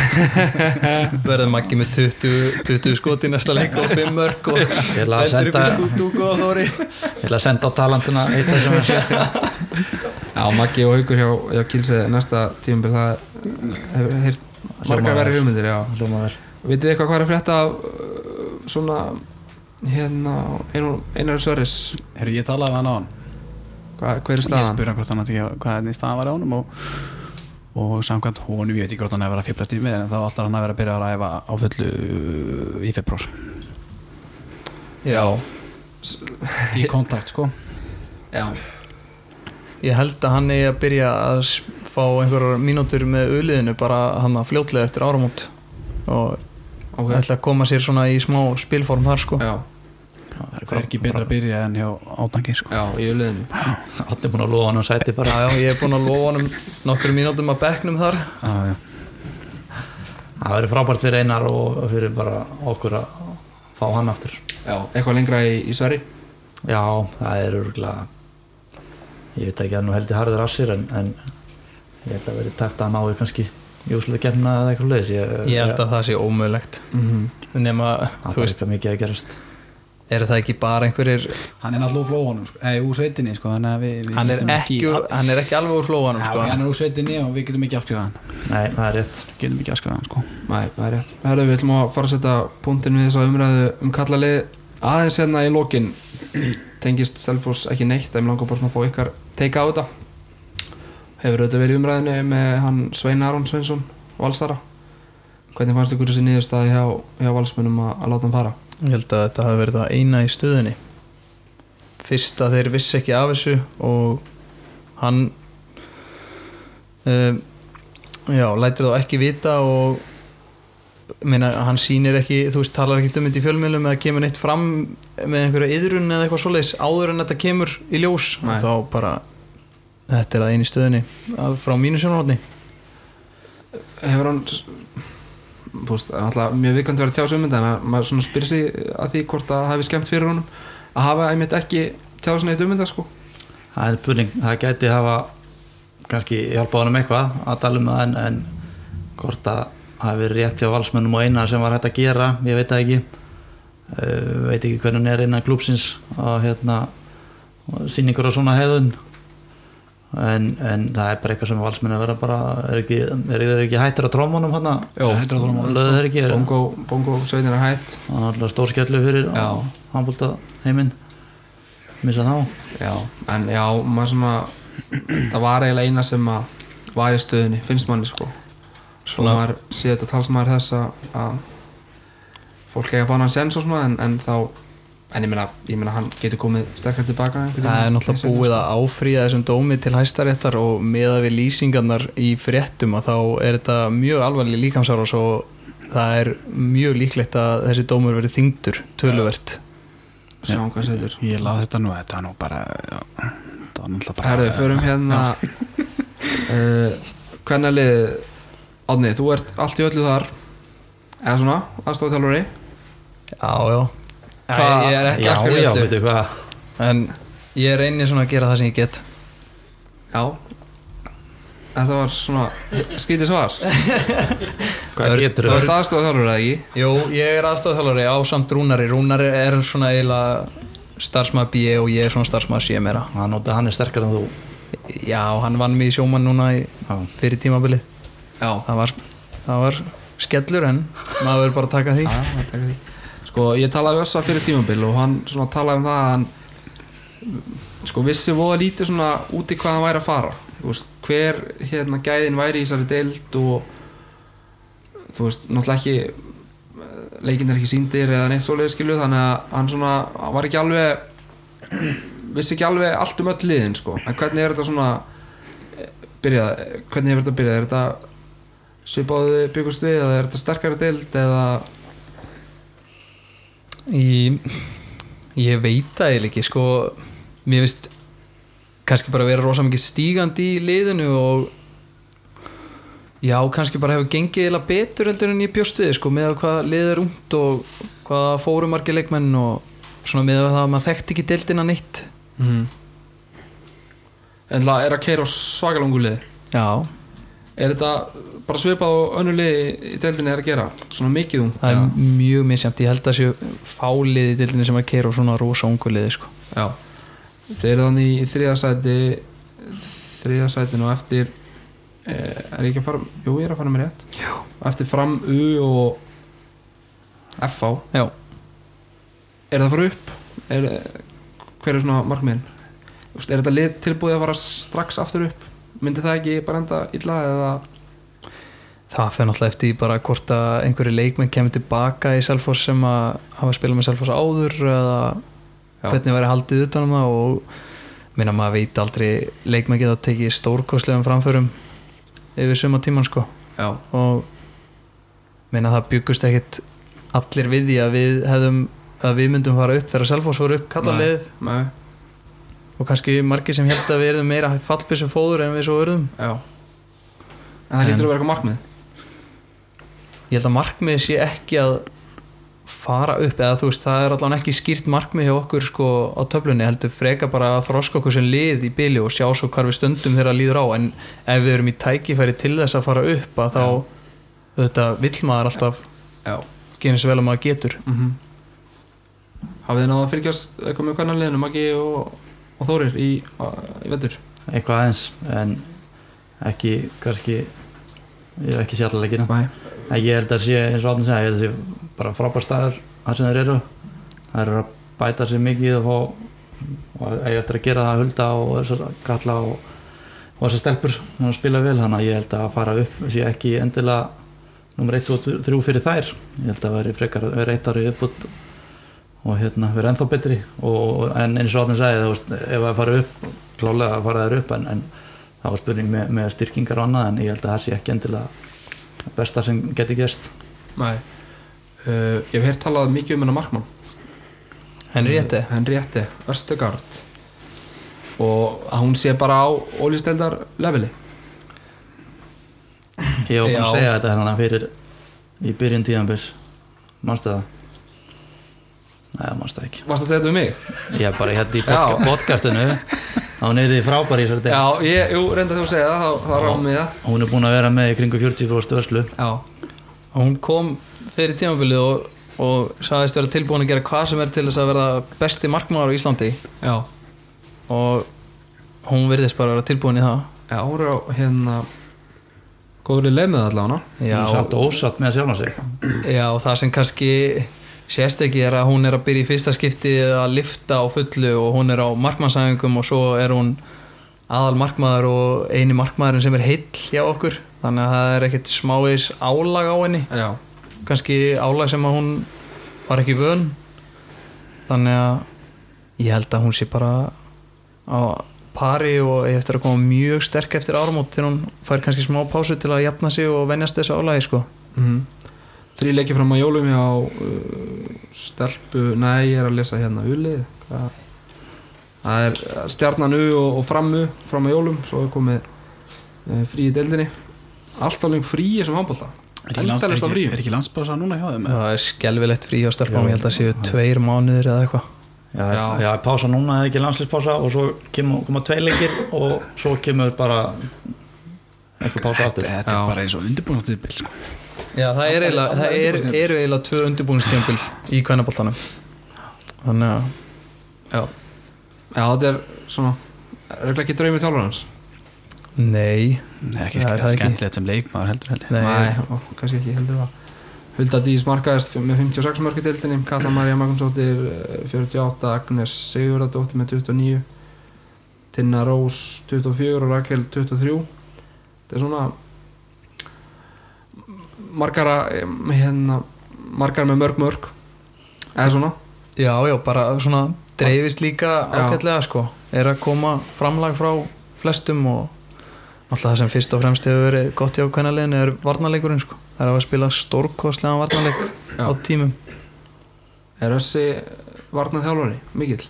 verður Maggi með 20, 20 skot í næsta leik og 5 mörg og Ég ætla að vendur upp í senda- skútúku og þóri Ég ætla að senda á talandina eitt af þessum já Maggi og Haugur hjá, hjá Kilsið næsta tímabil það hefur heyrt margar verri hugmyndir já. Hljómaður vitið þið eitthvað hvað er að frétta af, uh, svona hérna einar, einar Sörris Herru, ég talaði við hann á hann hvað, hver er ég staðan? spurði hann hvort hann ætti ekki að- hvað henni staðan var á honum og, og samkvæmt honum, ég veit ekki hvort hann hefur verið að fibla tími en þá ætlar hann að vera að byrja að ræfa á fullu uh, í februar Já, í kontakt sko já, ég held að hann eigi að byrja að s- fá einhverjar mínútur með auðliðinu bara hann að fljótlega eftir áramót og ok ætla að koma sér svona í smá spilform þar sko já, það er ekki betra að byrja en hjá átangi sko. já, í uliðinu Átni búin að lofa hann um sæti bara Já, já, ég er búin að lofa honum nokkru mínútum að bekknum þar ah, já. Það verður frábært fyrir Einar og fyrir bara okkur að fá hann aftur já, eitthvað lengra í, í Sverri Já, það er örgulega Ég veit ekki að nú heldur harður af sér en, en ég held að verði takt að hann ái kannski júslega gefna eða eitthvað leiðis Ég, Ég held að það sé ómögulegt mm -hmm. nema, Það þú er veist, eitthvað mikið að gerast er það ekki bara einhverjir hann er náttúrulega úr flóanum sko. Nei, úr sveitinni sko, þannig að við, við hann er getum ekki, úr- hann er ekki alveg úr flóanum Já, sko. hann er úr sveitinni og við getum ekki afskrifað hann Nei, það er rétt getum ekki afskrifað hann sko. Nei, það er rétt. Herðu, við ætlum að fara að setja punktinn við þessa umræðu um kallalið aðeins hérna í lokin tengist Selfoss ekki neitt en mér langar bara svona að fá ykkar teika á þetta Hefur auðvitað verið í umræðinu með hann Svein Aron Sveinsson Valsara Hvernig fannst ykkur þessi niðurstaði hjá, hjá valsmunum að, að láta hann fara? Ég held að þetta hafi verið það eina í stöðunni Fyrst að þeir vissi ekki af þessu og hann um, já, lætur þá ekki vita og meina, hann sýnir ekki, þú veist, talar ekki um þetta í fjölmiðlum eða kemur neitt fram með einhverja yðrun eða eitthvað svoleiðis áður en þetta kemur í ljós Nei. og þá bara, þetta er það eina í stöðunni af, frá mínu sjónarhóttni Hefur hann þú veist, það er náttúrulega mjög vikant verið að tjá sig um þetta en að maður svona spyrir sig að því hvort það hefði skemmt fyrir honum að hafa einmitt ekki tjá sig neitt um þetta sko Það er spurning, það gæti hafa kannski hjálpað honum eitthvað að tala um það en, en hvort að það hafi verið rétt hjá valsmönnum og eina sem var hægt að gera, ég veit það ekki uh, veit ekki hvernig hann er innan klúpsins og hérna og sýningur á svona hefðun en, en það er bara eitthvað sem valsmenn að vera bara, er ekki, er, er ekki hættir að trómunum hann Jó, þetta er það löðu þeir ekki, er- Bongo, bongo sveitin er hætt það er alltaf stór skellu fyrir Já. handbólta heiminn missa þá já, en já, maður svona það var eiginlega eina sem að var í stöðunni, finnst manni sko og Svona- maður sé þetta talsmaður þess að, að fólk eiga að fá hann sens og svona en, en þá en ég meina, ég meina hann getur komið sterkar tilbaka einhvern Það er tímann. náttúrulega búið að áfrýja þessum dómi til hæstaréttar og meða við lýsingarnar í fréttum að þá er þetta mjög alvarleg líkamsárás og það er mjög líklegt að þessi dómur verið þyngdur töluvert. sko. sjáum hvað setur Ég laði þetta nú, þetta er nú bara já, Þetta var náttúrulega bara Herðu, förum hérna uh, Hvernig lið Átni, þú ert allt í öllu þar eða svona, aðstofþjálfari Já, já. Hvað- Ég er ekki já, alltaf já, öllu, veitu hvað en ég reynir svona að gera það sem ég get. Já Þetta var svona skrítið svar hvað Ör- getur Þú þú ert aðstofþjálfari eða ekki Jú, ég er aðstofþjálfari á samt Rúnari. Rúnari er svona eiginlega starfsmaður B og ég er svona starfsmaður C meira. hann, nota- hann er sterkar en þú Já, hann vann mig í sjóman núna í, Já. fyrir tímabilið. Já, það var, það var skellur en maður verður bara að taka því Já, það taka því. Sko, ég talaði við Össa fyrir tímabil og hann svona talaði um það að hann sko vissi voða lítið svona úti hvað hann væri að fara þú veist, hver hérna gæðin væri í þessari deild og þú veist, náttúrulega ekki leikinn er ekki síndir eða neitt svoleiðis skilju þannig að hann svona hann var ekki alveg vissi ekki alveg allt um öll liðin sko en hvernig er þetta svona eh, byrjað, hvernig hefur þetta byrjað er þetta svipaðu byggust við eða er þetta sterkari deild eða ég, ég veit það eiginlega ekki sko, mér finnst kannski bara vera rosa mikið stígandi í liðinu og já, kannski bara hefur gengið eða betur heldur en ég bjóst við sko, með hvað lið er umt og hvað fóru margir leikmenn og svona með það að maður þekkti ekki deildina neitt Mm. En það er að keira á svakalungu liði já, Er þetta bara svipað og önnu liði í deildinni er að gera? Svona mikið um það er mjög misjæmt ég held að séu fálið í deildinu sem að keira og svona rosa ungu liði sko. Já. Þeir eru þannig í þriðasæti þriðasætin og eftir eh, er ég ekki að fara Jú, ég er að fara með rétt Já. Eftir fram U og FH já, Er það að fara upp? Er, hver er svona markmiðin? Þú veist, Er þetta lið tilbúið að fara strax aftur upp? Myndi það ekki bara enda illa eða Það fyrir náttúrulega eftir því bara hvort að einhverju leikmenn kemur tilbaka í Selfoss sem að hafa spilað með Selfoss áður eða Já. hvernig væri haldið utanum það og minna maður veit aldrei leikmenn geta tekið stórkostlegum framförum yfir suma tíman sko Já, og minna það byggust ekkit allir við því að við hefðum að við myndum fara upp þegar Selfoss voru upp kallarleið nei, og kannski margir sem held að við erum meira fallbissu fóður en við svo verðum já En það hlýtur að vera eitthvað markmið ég held að markmið sé ekki að fara upp eða þú veist það er allan ekki skýrt markmið hjá okkur sko á töflunni heldur freka bara að þroska okkur sem lið í byli og sjá svo hvar við stöndum þegar að líður á en ef við erum í tækifæri til þess að fara upp að þá þetta vill maður alltaf Já gera eins vel að maður getur mm Hafið þið náða að fylgjast eitthvað með hvernig liðinu Maggi og, og Þórir í, í vettur eitthvað aðeins en ekki kannski ég hef ekki sé allar leikina Nei en ég held að sé eins og áttin segja ég held að sé bara frábær staður það sem þeir eru það eru að bæta sér mikið og, fá- og ég eftir að gera það að hulda og þessar kalla og, og þessar stelpur sem að spila vel þannig að ég held að fara upp sé ekki endilega nummer 1 og 3 fyrir þær ég held að veri frekar að vera eitt ári uppbútt og hérna vera ennþá betri og, en eins og áttin segja þú veist, ef að fara upp klálega að fara þær upp en, en það var spurning með, með styrkingar og annað en ég held að það sé ekki endilega besta sem geti gerst Nei uh, Ég hef heyrt talað mikið um hennar markmann Henriette, Henriette Östegard Og að hún sé bara á ólýsteldar leveli Ég var búin Já. að segja þetta hérna fyrir í byrjun tíðanbils Manstu það? Nei, það manstu það ekki Varst að segja þetta um mig? Ég er bara hérna í Já. podca- podcastinu Hún er því frábær í þessari Já, deild ég, jú, reynda þú að segja það, þá, þá ráðum við það Hún er búin að vera með í kringu 40% vörslu Já, hún kom fyrir tímabilið og, og sagðist vera tilbúin að gera hvað sem er til þess að vera besti markmaður á Íslandi já, og hún virðist bara að vera tilbúin í það Já, hún er á hérna góður í leið með það allavega já, samt og ósatt með sjálf sig já, og það sem kannski sést ekki er að hún er að byrja í fyrsta skipti að lifta á fullu og hún er á markmannsæfingum og svo er hún aðal markmaður og eini markmaðurinn sem er heill hjá okkur þannig að það er ekkert smáis álag á henni Já, kannski álag sem að hún var ekki vön þannig að ég held að hún sé bara á pari og eigi eftir að koma mjög sterk eftir áramót til hún fær kannski smá pásu til að jafna sig og venjast þessu álagi sko mm. Þrý leikir fram að jólum hjá uh, stelpu, nei ég er að lesa hérna ulið Hvað? Það er uh, stjarnan U og, og framu fram að jólum, svo er komið uh, frí í deildinni Alltaf lengur frí í þessum handbólta Er ekki lands- er Endalaust á ekki- fríum. er ekki landsbása núna hjá þeim? eða? það er skelvilegt frí á starfbámi, ég held að séu tveir mánuðir eða eitthvað já, já. Já. pása núna eða ekki landslýspása og svo kemur, koma tvei leikir og svo kemur bara eitthvað pása aftur Þetta er bara eins og undirbúinartitil sko. Já, það, er eiginlega, það er, eru eiginlega tvö undirbúinstjömbil í kvennabóltanum þannig að Já, Já þetta er svona, er ekki ekki draumið þjálfur hans? nei, Nei, ekki Já, er það ekki? skemmtilegt sem leikmaður heldur heldur nei, Nei, og kannski ekki heldur það Hulda Dís markaðist með 56 mörg í deildinni, Kalla Marja Magnúsdóttir eh, 48, Agnes Sigurðardóttir með 29 Tinna Rós 24 og Rakel 23 Þetta er svona margara eh, hérna, margar með mörg mörg eða svona Já, já, bara svona dreifist líka Já. ágætlega sko er að koma framlag frá flestum og alltaf það sem fyrst og fremst hefur verið gott hjá kvennaleginu er varnarleikurinn sko það er að spila stórkostlega varnarleik Já. á tímum er össi varnað þjálfari, mikill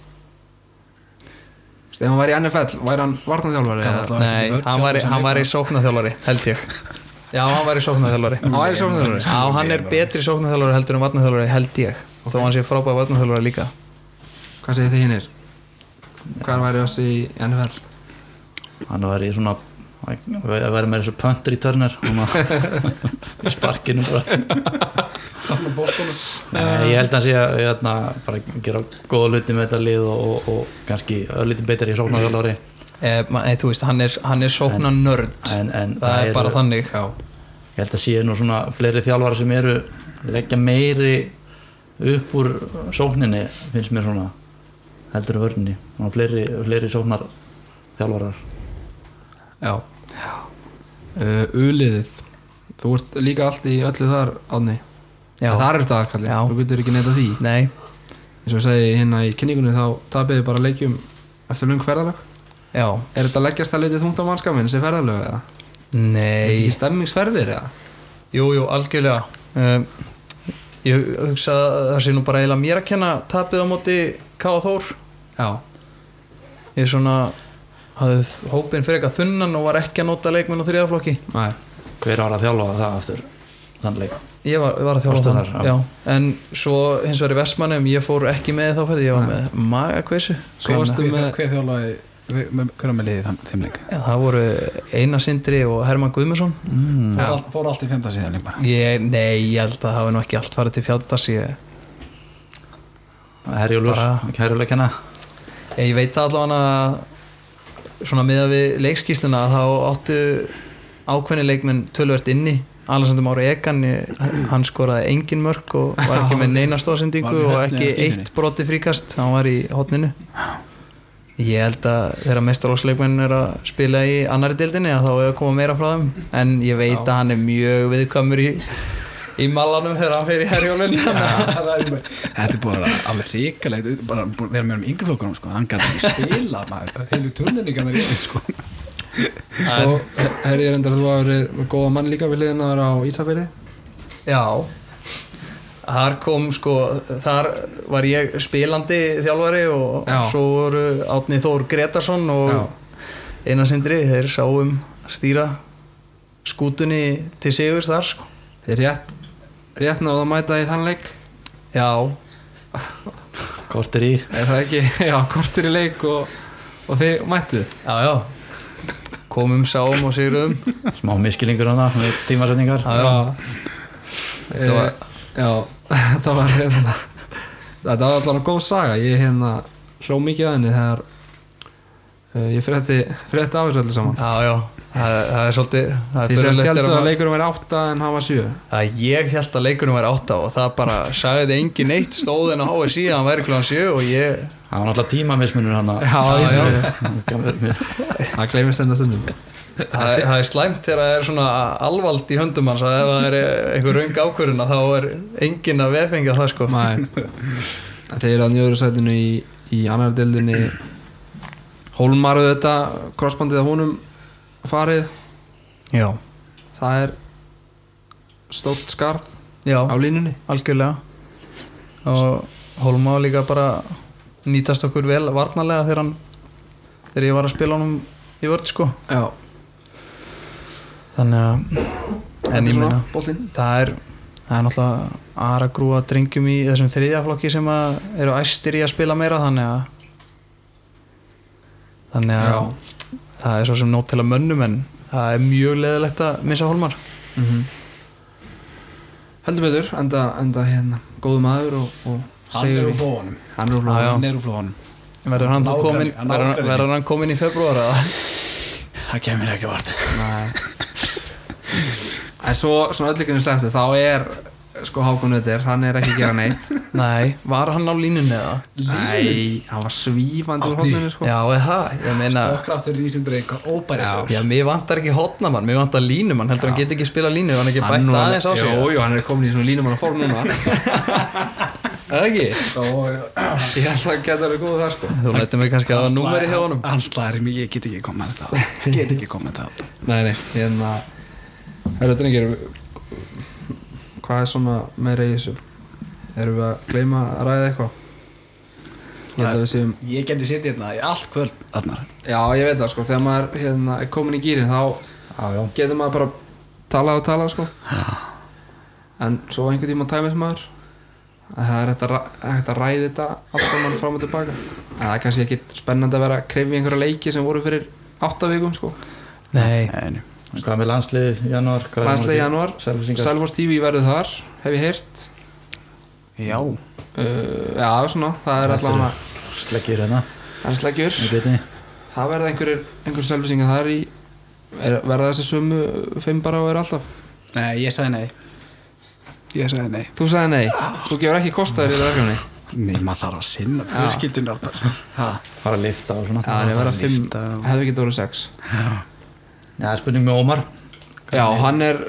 Þegar hann væri í NFL, væri hann varnað þjálfari Gat eða allavega Nei, ekkert í vörn sjálfur hann væri, sem hann leikmaður. væri sóknarþjálfari held ég Já, hann væri sóknarþjálfari hann væri sjónarþjálfari Já, hann er betri sóknarþjálfari heldur en varnarþjálfari held ég þó hann sé frábæð varnarþjálfari líka Hvað segir þið hinnir? Hvað væri össi í NFL? hann væri svona hann væri með þessu pöntur í törnir sparkinu bara Safna bóttunum Nei, ég held að sé að hérna, bara gera góða hluti með þetta lið og, og, og kannski öllítið betur í sóknarþjálfari eh, ma- Nei, þú veist, hann er, hann er sóknarnörd en, en það er eru- bara þannig Já, ég held að sé nú svona fleiri þjálfara sem eru leggja meiri upp úr sókninni finnst mér svona heldur en vörninni Svona fleiri, fleiri sóknar þjálfarar já Uh, Uliðið Þú ert líka allt í öllu þar, Árni Já. Þar er þetta aðkalli, Já. þú getur ekki neita því Nei, eins og ég segi hérna í kynningunni þá tapiði bara leikjum eftir lung ferðalög já, Er þetta leggjast að leiti þungt á mannskapin sem ferðalög eða? Er þetta nei ekki stemmingsferðir eða? Jú, jú, algjörlega um, Ég hugsa að það sé nú bara eiginlega mér að kenna tapið á móti Káa Þór Já, Ég svona hafði þ- hópinn fyrir eitthvað þunnan og var ekki að nota leikmenn á þriðaflokki næ, hver ára að þjálfa það aftur þannleik Ég var, var að þjálfa Varstu þann þar, já. já. En svo hins vegar í Vestmannum ég fór ekki með í þá ferði, ég var með magakveisu svo varstu með Hver þjálfaði, hver hver var með liðið þann- þeim leik? Já, það voru Einar Sindri og Herman Guðmundsson mm. Fór allt- Fór allt í fenda síðan leik bara ég, Nei, ég held að það hafi nú ekki allt farið til fjandars ég, herjúlur, Bara- herjúlur kenna Ég ég veit allavega að svona miða við leikskísluna þá áttu ákveðni leikmenn tölvert inni Alessandur Mári Egan hann skoraði engin mörk og var ekki með neina Var stóðsendingu með og heppni ekki á stíkinni. eitt broti fríkast hann var í hotninu ég held að þegar mestarlóksleikmenn er að spila í annari deildinni að þá er að koma meira frá þeim en ég veit að hann er mjög viðkvæmur í í malanum þegar hann fer í herjólun Þetta er bara alveg hrikalegt bara búin að vera með um yngri flokkunum sko. hann gæti ekki spila maður heilu turninningarnar í sko. Svo herrið er endar að þú hafa verið með góða mann líka við liðin að vera á Ísafirði Já Þar kom sko, þar var ég spilandi þjálfari og Já. svo voru Átni Þór Gretarsson og Já. Einar Sindri, þeir sáum að stýra skútunni til sigurs þar sko. Þið rétt, rétt náðu að mæta í þann leik Já, kortir í Er það ekki, já, kortir í leik og, og þið mættu já, já komum, sáum og sigurum smá miskilingur hana með tímasetningar Já, já, Þetta var, eh, já, þetta var hérna, þetta var allavega góð saga, ég hérna hló mikið að henni þegar Eh, Ég frétti, frétti af þessu öllu saman Já, já, það, er- það er svolítið það er Því sem furðulegt held þegar að maður- leikurum er átta en hann var sjö að ég held að leikunum væri átta og það bara sagði engin eitt stóðin á HSI að hann væri kláðan 7 og ég Það var náttúrulega tímamismunur hérna. hann að já, já, Það gleymist enda stundum Það, er- það er slæmt þegar það er svona alvald í höndum hans að ef það er einhver röng ákvörðuna þá er engin að vefengja það sko Nei Þeir eru að njöður sætinu í, í annar deildinni Hólmaruð þetta crossbandið að honum farið Já, Það er stórt skarð já á línunni algjörlega og Holma var líka bara nýtast okkur vel varnarlega þegar hann þegar ég var að spila honum í vörð sko Já, þannig að þetta er svona boltinn það er, það er náttúrulega aðra grúa drengjum í þessum þriðjaflokki sem að eru æstir í að spila meira þannig að þannig að það er svo sem nót til að mönnum en það er mjög leðilegt að missa holmar Mhm. Heldur betur, enda, enda hérna góðu maður og, og Hann er segir úr flóðunum Hann er úr Já. Hann er úr flóðunum verður hann, Hann þá á kominn- pening- hann á verður pening. verður hann komin í februar eða? Það kemur ekki vart Nei En svo, svona öllikinu slefti, þá er sko Hákon Ötter, hann er ekki að gera neitt nei, var hann á línunni eða? Nei, hann var svífandi úr hóttinu sko já, eða, ég meina Kraftur í 900 einhver óbæri já, mér vantar ekki hotnamann, mér vantar línumann heldur hann get ekki spila línu, hann ekki bætt var- aðeins á sig Jú, jú, hann er komin í svona línum hann að form núna Eða ekki? Ég held að hann geta verið góð þar sko þú lætur mig kannski að það var númeri hjá honum Hann slæðir mig, ég get ekki komað þetta Get ekki komað þetta Nei, nei, hérna Herra drengir Hvað er svona meira í þessu? Erum við að gleyma að ræða eitthvað? Ég held að við séum Ég geti sitt hérna í allt kvöld Arnar Já, ég veit það sko, þegar maður hérna, er komin í gýrin þá já. getur maður bara talað og talað sko en svo einhvern tíma tæmis maður að það er hægt að, ra- hægt að ræði þetta allt saman fram og tilbaka en það er kannski ekki spennandi að vera að krefja einhverja leiki sem voru fyrir áttavíkum sko nei, En Hvað með landslið í janúar? Lænslega í januar, Selvisingar Selfors TV verður þar hef ég heyrt Já uh, já, svona, það er allavega Sleggir hérna það er sleggjur, í beinni. það verða einhverjir einhverjir Selforsingar þar í er, verða þessi sömu fimm bara og er alltaf Nei, ég sagði nei Ég sagði nei þú sagði nei, þú gefur ekki kostaður í þetta verkefni Nei, maður þarf að sinna fjölskyldun Arnar Ha, Fara að lifta og svona Já, það er verið að fimm, hefði getið voru sex Já, spurning með Ómar Já, hann er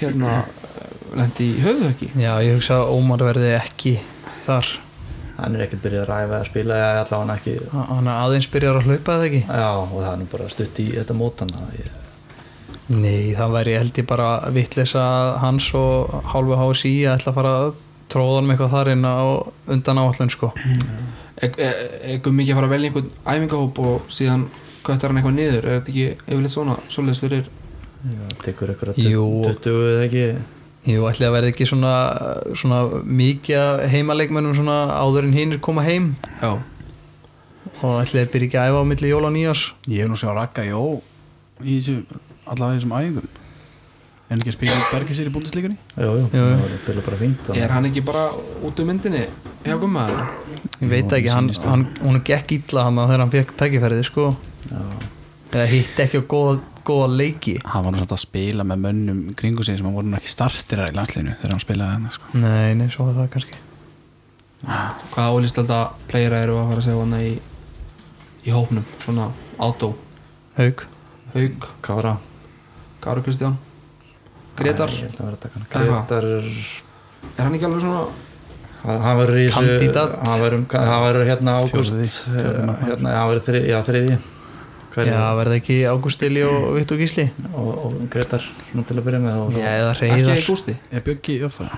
hérna lendi í höfðöki Já, ég hugsa að Ómar verði ekki þar Hann er ekkert byrjað að ræfa eða spila eða allavega hann ekki Ha- Hann er aðeins byrjar að hlaupa eða ekki Já, og það er nú bara stutt í þetta mót hann að ég- Nei, það væri held ég bara vitleysa hans og hálfu hás í að ætla að fara að tróða hann með eitthvað þar inn á undan áallun sko E- Ekkur mikið að fara að velja einhvern æfingahóp og síðan köttar hann eitthvað niður er þetta ekki yfirleitt svona, svoleiðis fyrir Já, tekur ykkur að Jú. 20 eða ekki Jú, ætli að verði ekki svona, svona mikið af heimaleikmönnum svona áður en hinn er koma heim Já, og ætli að byrja ekki að æfa á milli jóla og nýjás Ég hef nú sjá Raka Jó í þessu, allavega í þessum æfingum En ekki að spila bergi sér í búndislíkunni Jú, jú, Jú, jú. það var byrjað bara fínt þannig. er hann ekki bara út um myndinni hjá gumma eða? Ég veit ekki, hann, hann, hún gekk illa hann þegar hann fekk tækifærið sko eða hitt ekki á góða, góða leiki Hann var nú samt að spila með mönnum kringu sig sem hann voru nú ekki startirar í landsliðinu þegar hann spilaði hann sko. Nei, nei, svo var það kannski Ah, Hvaða ólýstalda playera eru að fara að segja hann í, í hópnum, svona átó Haug Haug, Kára Káru Kristján Gretar, Æ, ég held að vera að taka hann. Eða hvað? Grétar er hann ekki alveg svona Hann hann verður í þessu- Kandidat. Hann verður- hann verður hérna ágúst Fjórði, fjórði eh, hérna, já, Hann verður þrið, já, þriði Hver, Já, verða ekki Ágústili og Vitt og Gísli og, og Gretar svona til að byrja með og Já, eða ekki reyðar í gústi? Er Björgi ofað?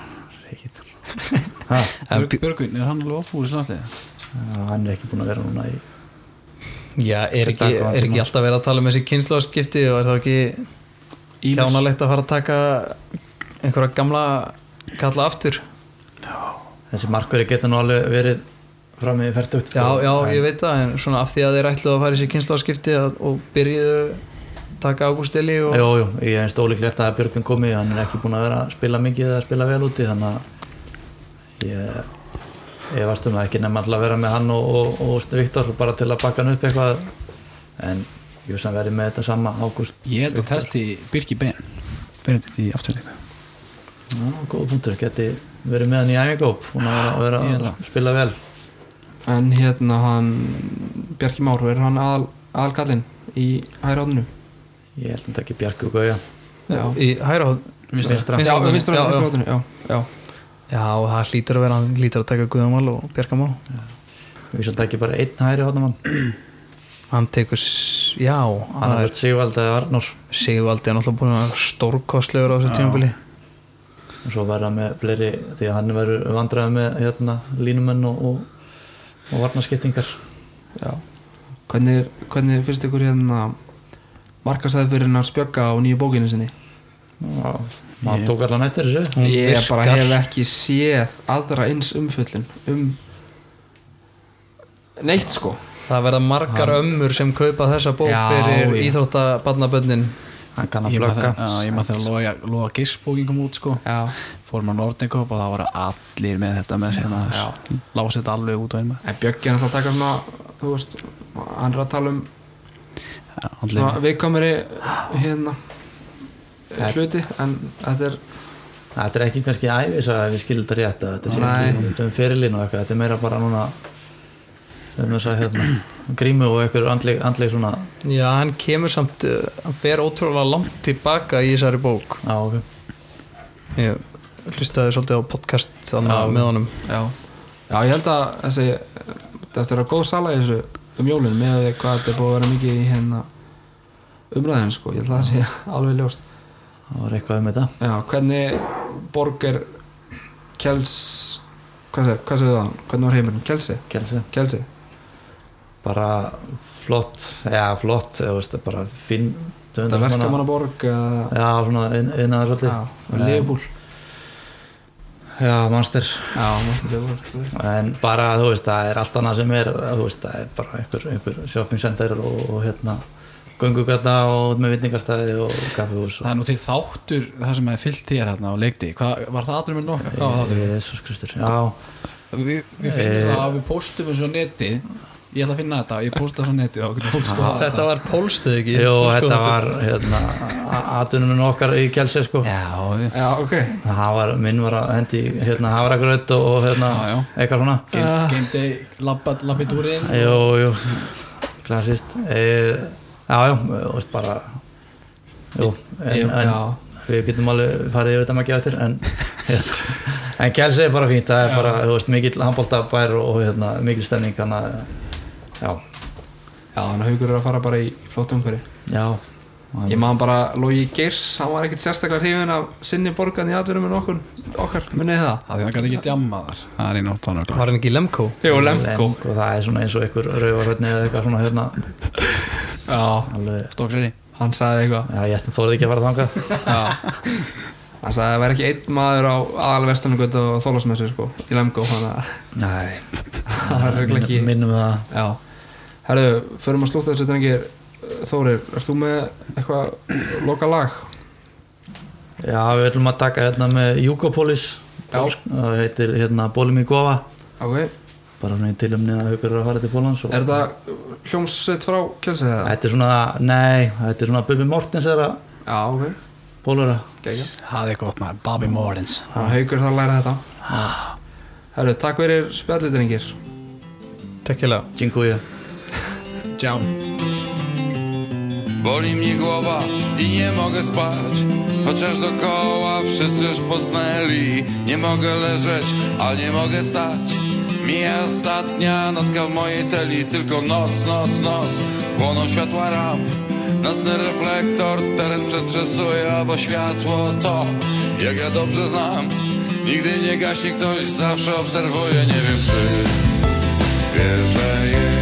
ha, Eh, Björg, Björgvin, er hann alveg ofað í þessu landsliði? hann er ekki búin að vera núna í Já, er ekki, er ekki alltaf verið að tala um þessi kynnslóðskipti og er þá ekki kjánalegt að fara að taka einhverja gamla kalla aftur þessi markveri geta nú alveg verið fram í sko. færtugt Já, já, ég veit það en svona af því að þeir ætluðu að fara í þessi kynnslóðskipti og byrjuðu að taka Ágústili og Jú, jú, ég er stólíklegt að Björgvin komi hann er ekki búin að vera að spila mikið eða að spila vel úti þannig að ég ég varst um að ekki nefn alltaf að vera með hann og, og, og Viktor bara til að bakka hann upp eitthvað en ég veist að verði með þetta sama ágúst Ég held að testi Birki Ben Verður þetta í afturleika Já, góða punktur, geti verið með hann í æfingóp og vera að vera að spila vel en hérna hann Bjarki Már, er hann aðal, aðalkallinn í hæra átninu ég held að hann takki Bjarki og Gauja í hæra hóð já, vinstra Vinstra. Vinstra- já, já. vinstra átninu, já, já já, og það hlýtur að vera hann hlýtur að taka Guðamál og Bjarkamál ég veist að hann takki bara einn hæri hóttamann hann tekur, s- já hann er það er verið Sigvald eða Arnór Sigvaldi hann er alltaf búin að stórkostlegur á þessu tjónbili og svo verða með fleiri því að hann verður vandræði með hérna, línumenn og, og, og varnaskiptingar Já. Hvernig, hvernig finnst ykkur hérna markastæði fyrir hennar spjögga á nýju bókinu sinni? Já, maður tók allan eftir þessu Hún Ég bara virkar. hef ekki séð aðra eins umfjöllun um neitt sko það verða margar ömmur sem kaupa þessa bók Já, fyrir já. íþróttabarnabönnin hann kann að Ég maður blöka þegar- já, ég maður þegar loga, loga gisbókin kom út sko Já. Fórum á Nordnikop og það voru allir með þetta með sér maður Lási þetta alveg út á einu maður En Bjöggi hann alltaf taka svona þú veist, hann er að tala um Já, hann svona lifir. viðkvæmari hérna hluti en þetta er þetta er ekki kannski æfisaga ef við skiljum þetta rétt að þetta sé Nei. ekki um- um fyrirlínu og eitthvað þetta er meira bara núna um þess að hérna, grímu og einhver andleg, andleg svona já, hann kemur samt uh, hann fer ótrúlega langt tilbaka í þessari bók á, okay. ég hlustaði svolítið á podcast þannig Já. með honum já, já ég held að þessi, þetta eftir að vera góð sala í þessu um jólun með því hvað þetta er búið að vera mikið í hérna umræðin sko, ég held að það sé alveg ljóst það var eitthvað um þetta já, hvernig borg er kels hvað segir, hvað segir það, hvernig var heimurinn kelsi, Kelsi. kelsi bara flott já flott, eða veist bara fín þetta þetta verka manna borg uh, já svona inn, innan svolítið já, leifbúl já mannstyr já, sko. mest leifbúl en bara þú veist það er allt annað sem er þú veist það er bara einhver, einhver shopping center og, og hérna göngugata og út með vitningastæði og kaffihús Það og er nú til þáttur það sem hefði fyllt þér hérna á leikti Hvað, var það aðrum en nokk? Hvað var það aðrum? Jesus Kristur já Við, við Eh. finnum það að við póstum þessu á neti Ég ætla að finna þetta, ég pósta þessu á neti þá getur fólk sko þetta var pólstuð ekki Jó, Sko, þetta var hérna, aðunum okkar í Kjelsir sko. Já, við- já, ok, Það var, minn var að hendi hérna, hafragröð og hérna, Já, já. eitthvað svona game, game day, labba- labbið úr inn Jú, jú, klassist e, Já, já, þú veist bara Jú, en, Jú, en já. við getum alveg farið yfir þetta maður getur en, en Kelsey er bara fínt það er bara, þú veist, mikill handbóltabær og hérna, mikill stemning hana, já, já, þannig að haugur er að fara bara í flott umhverju já Ég man bara Logi Geirs, hann var ekkert sérstaklega hrifin af sinni borgan í atvinnum en okkur, okkar, munið þið það? Það því það gæti ekki djammaðar Það er í nótt þannig var hann ekki í Lemko Jó, Lemko og það er svona eins og einhver rauvarhörni eða eitthvað svona hérna Já, alveg, Stókseri hann sagði eitthvað já, ég ætti þórið ekki að fara þangað Hann sagði að það væri ekki einn maður á aðalverstanugötu og þólasmessu sko, í Lemgo, þannig að Nei, það er örugglega ekki minnum það Já, herru, förum að slúta þessu drengir Þórir, ert þú með eitthvað loka lag? Já, við ætlum að taka hérna með Júkopolis það heitir hérna Bólum í Gofa Ok, bara svona í tilumni að haugur eru að fara til Pólans og... er þetta hljómsveit frá kjölsið það? Þetta er svona, nei, þetta er svona Bubi Mortens er að Já, ok, Pólura gegja Það er gott maður, Bobby Mortens Þannig að haugur þarf að læra þetta Herru, takk fyrir spjallið drengir tekkilega Dziękuję Ciao Boli mnie głowa i nie mogę spać Chociaż dokoła wszyscy już posnęli Nie mogę leżeć, a nie mogę stać Mija ostatnia nocka w mojej celi Tylko noc, noc, noc Płoną światła ramp Nocny reflektor teren przetrzesuje Owo światło to, jak ja dobrze znam Nigdy nie gaśnie ktoś, zawsze obserwuje Nie wiem czy wierzę jej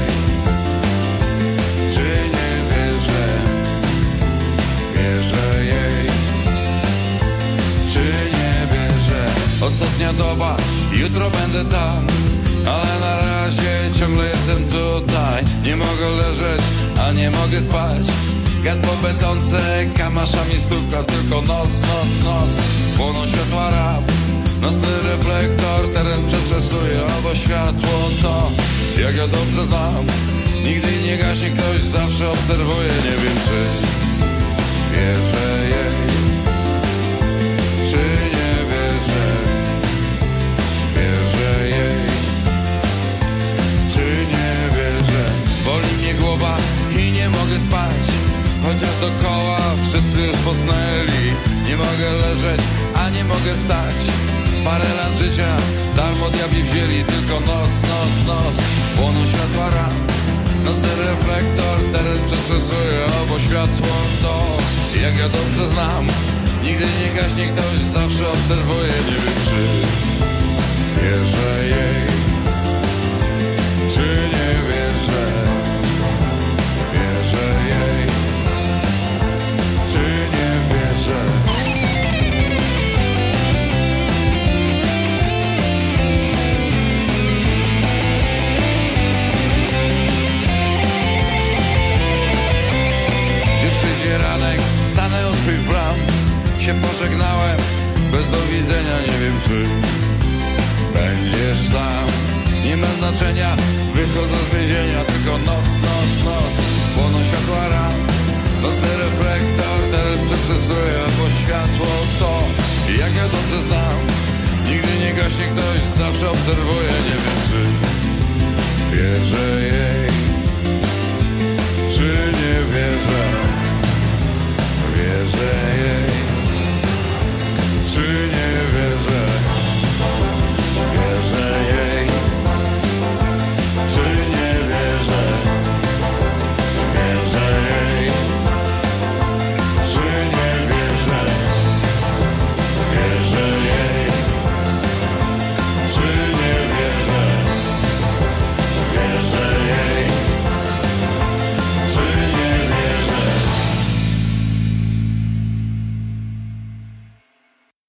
czy nie wierzę, wierzę jej, czy nie wierzę. Ostatnia doba, jutro będę tam, ale na razie ciągle jestem tutaj. Nie mogę leżeć, a nie mogę spać. Gadło będące kamaszami stukam, tylko noc, noc, noc. Płoną światła rap, nocny reflektor, teren przetrzesuje, owo światło to. jak ja dobrze znam Nigdy nie gaśnie ktoś, zawsze obserwuje, nie wiem czy Wierzę jej, czy nie wierzę Wierzę jej, czy nie wierzę Boli mnie głowa i nie mogę spać Chociaż dookoła wszyscy już posnęli Nie mogę leżeć, a nie mogę wstać Parę lat życia darmo diabli wzięli Tylko noc, noc, noc Płoną światła ram Nocny reflektor teren przetrzesuje Obo światło to Jak ja dobrze znam Nigdy nie gaśnie ktoś, zawsze obserwuje Nie wiem czy wierzę jej czy nie wierzę? Wierzę jej. Czy nie wierzę? Gdy przyjdzie ranek, stanę od twych bram. Się pożegnałem, bez do widzenia, nie wiem czy będziesz tam. Nie ma znaczenia, wychodzę z więzienia, tylko noc, noc, noc. Płoną światła ram, nocny reflektor, teren przeczesuje, bo światło to, jak ja dobrze znam. Nigdy nie gaśnie ktoś, zawsze obserwuje, nie wiem czy wierzę jej, czy nie wierzę. Wierzę jej.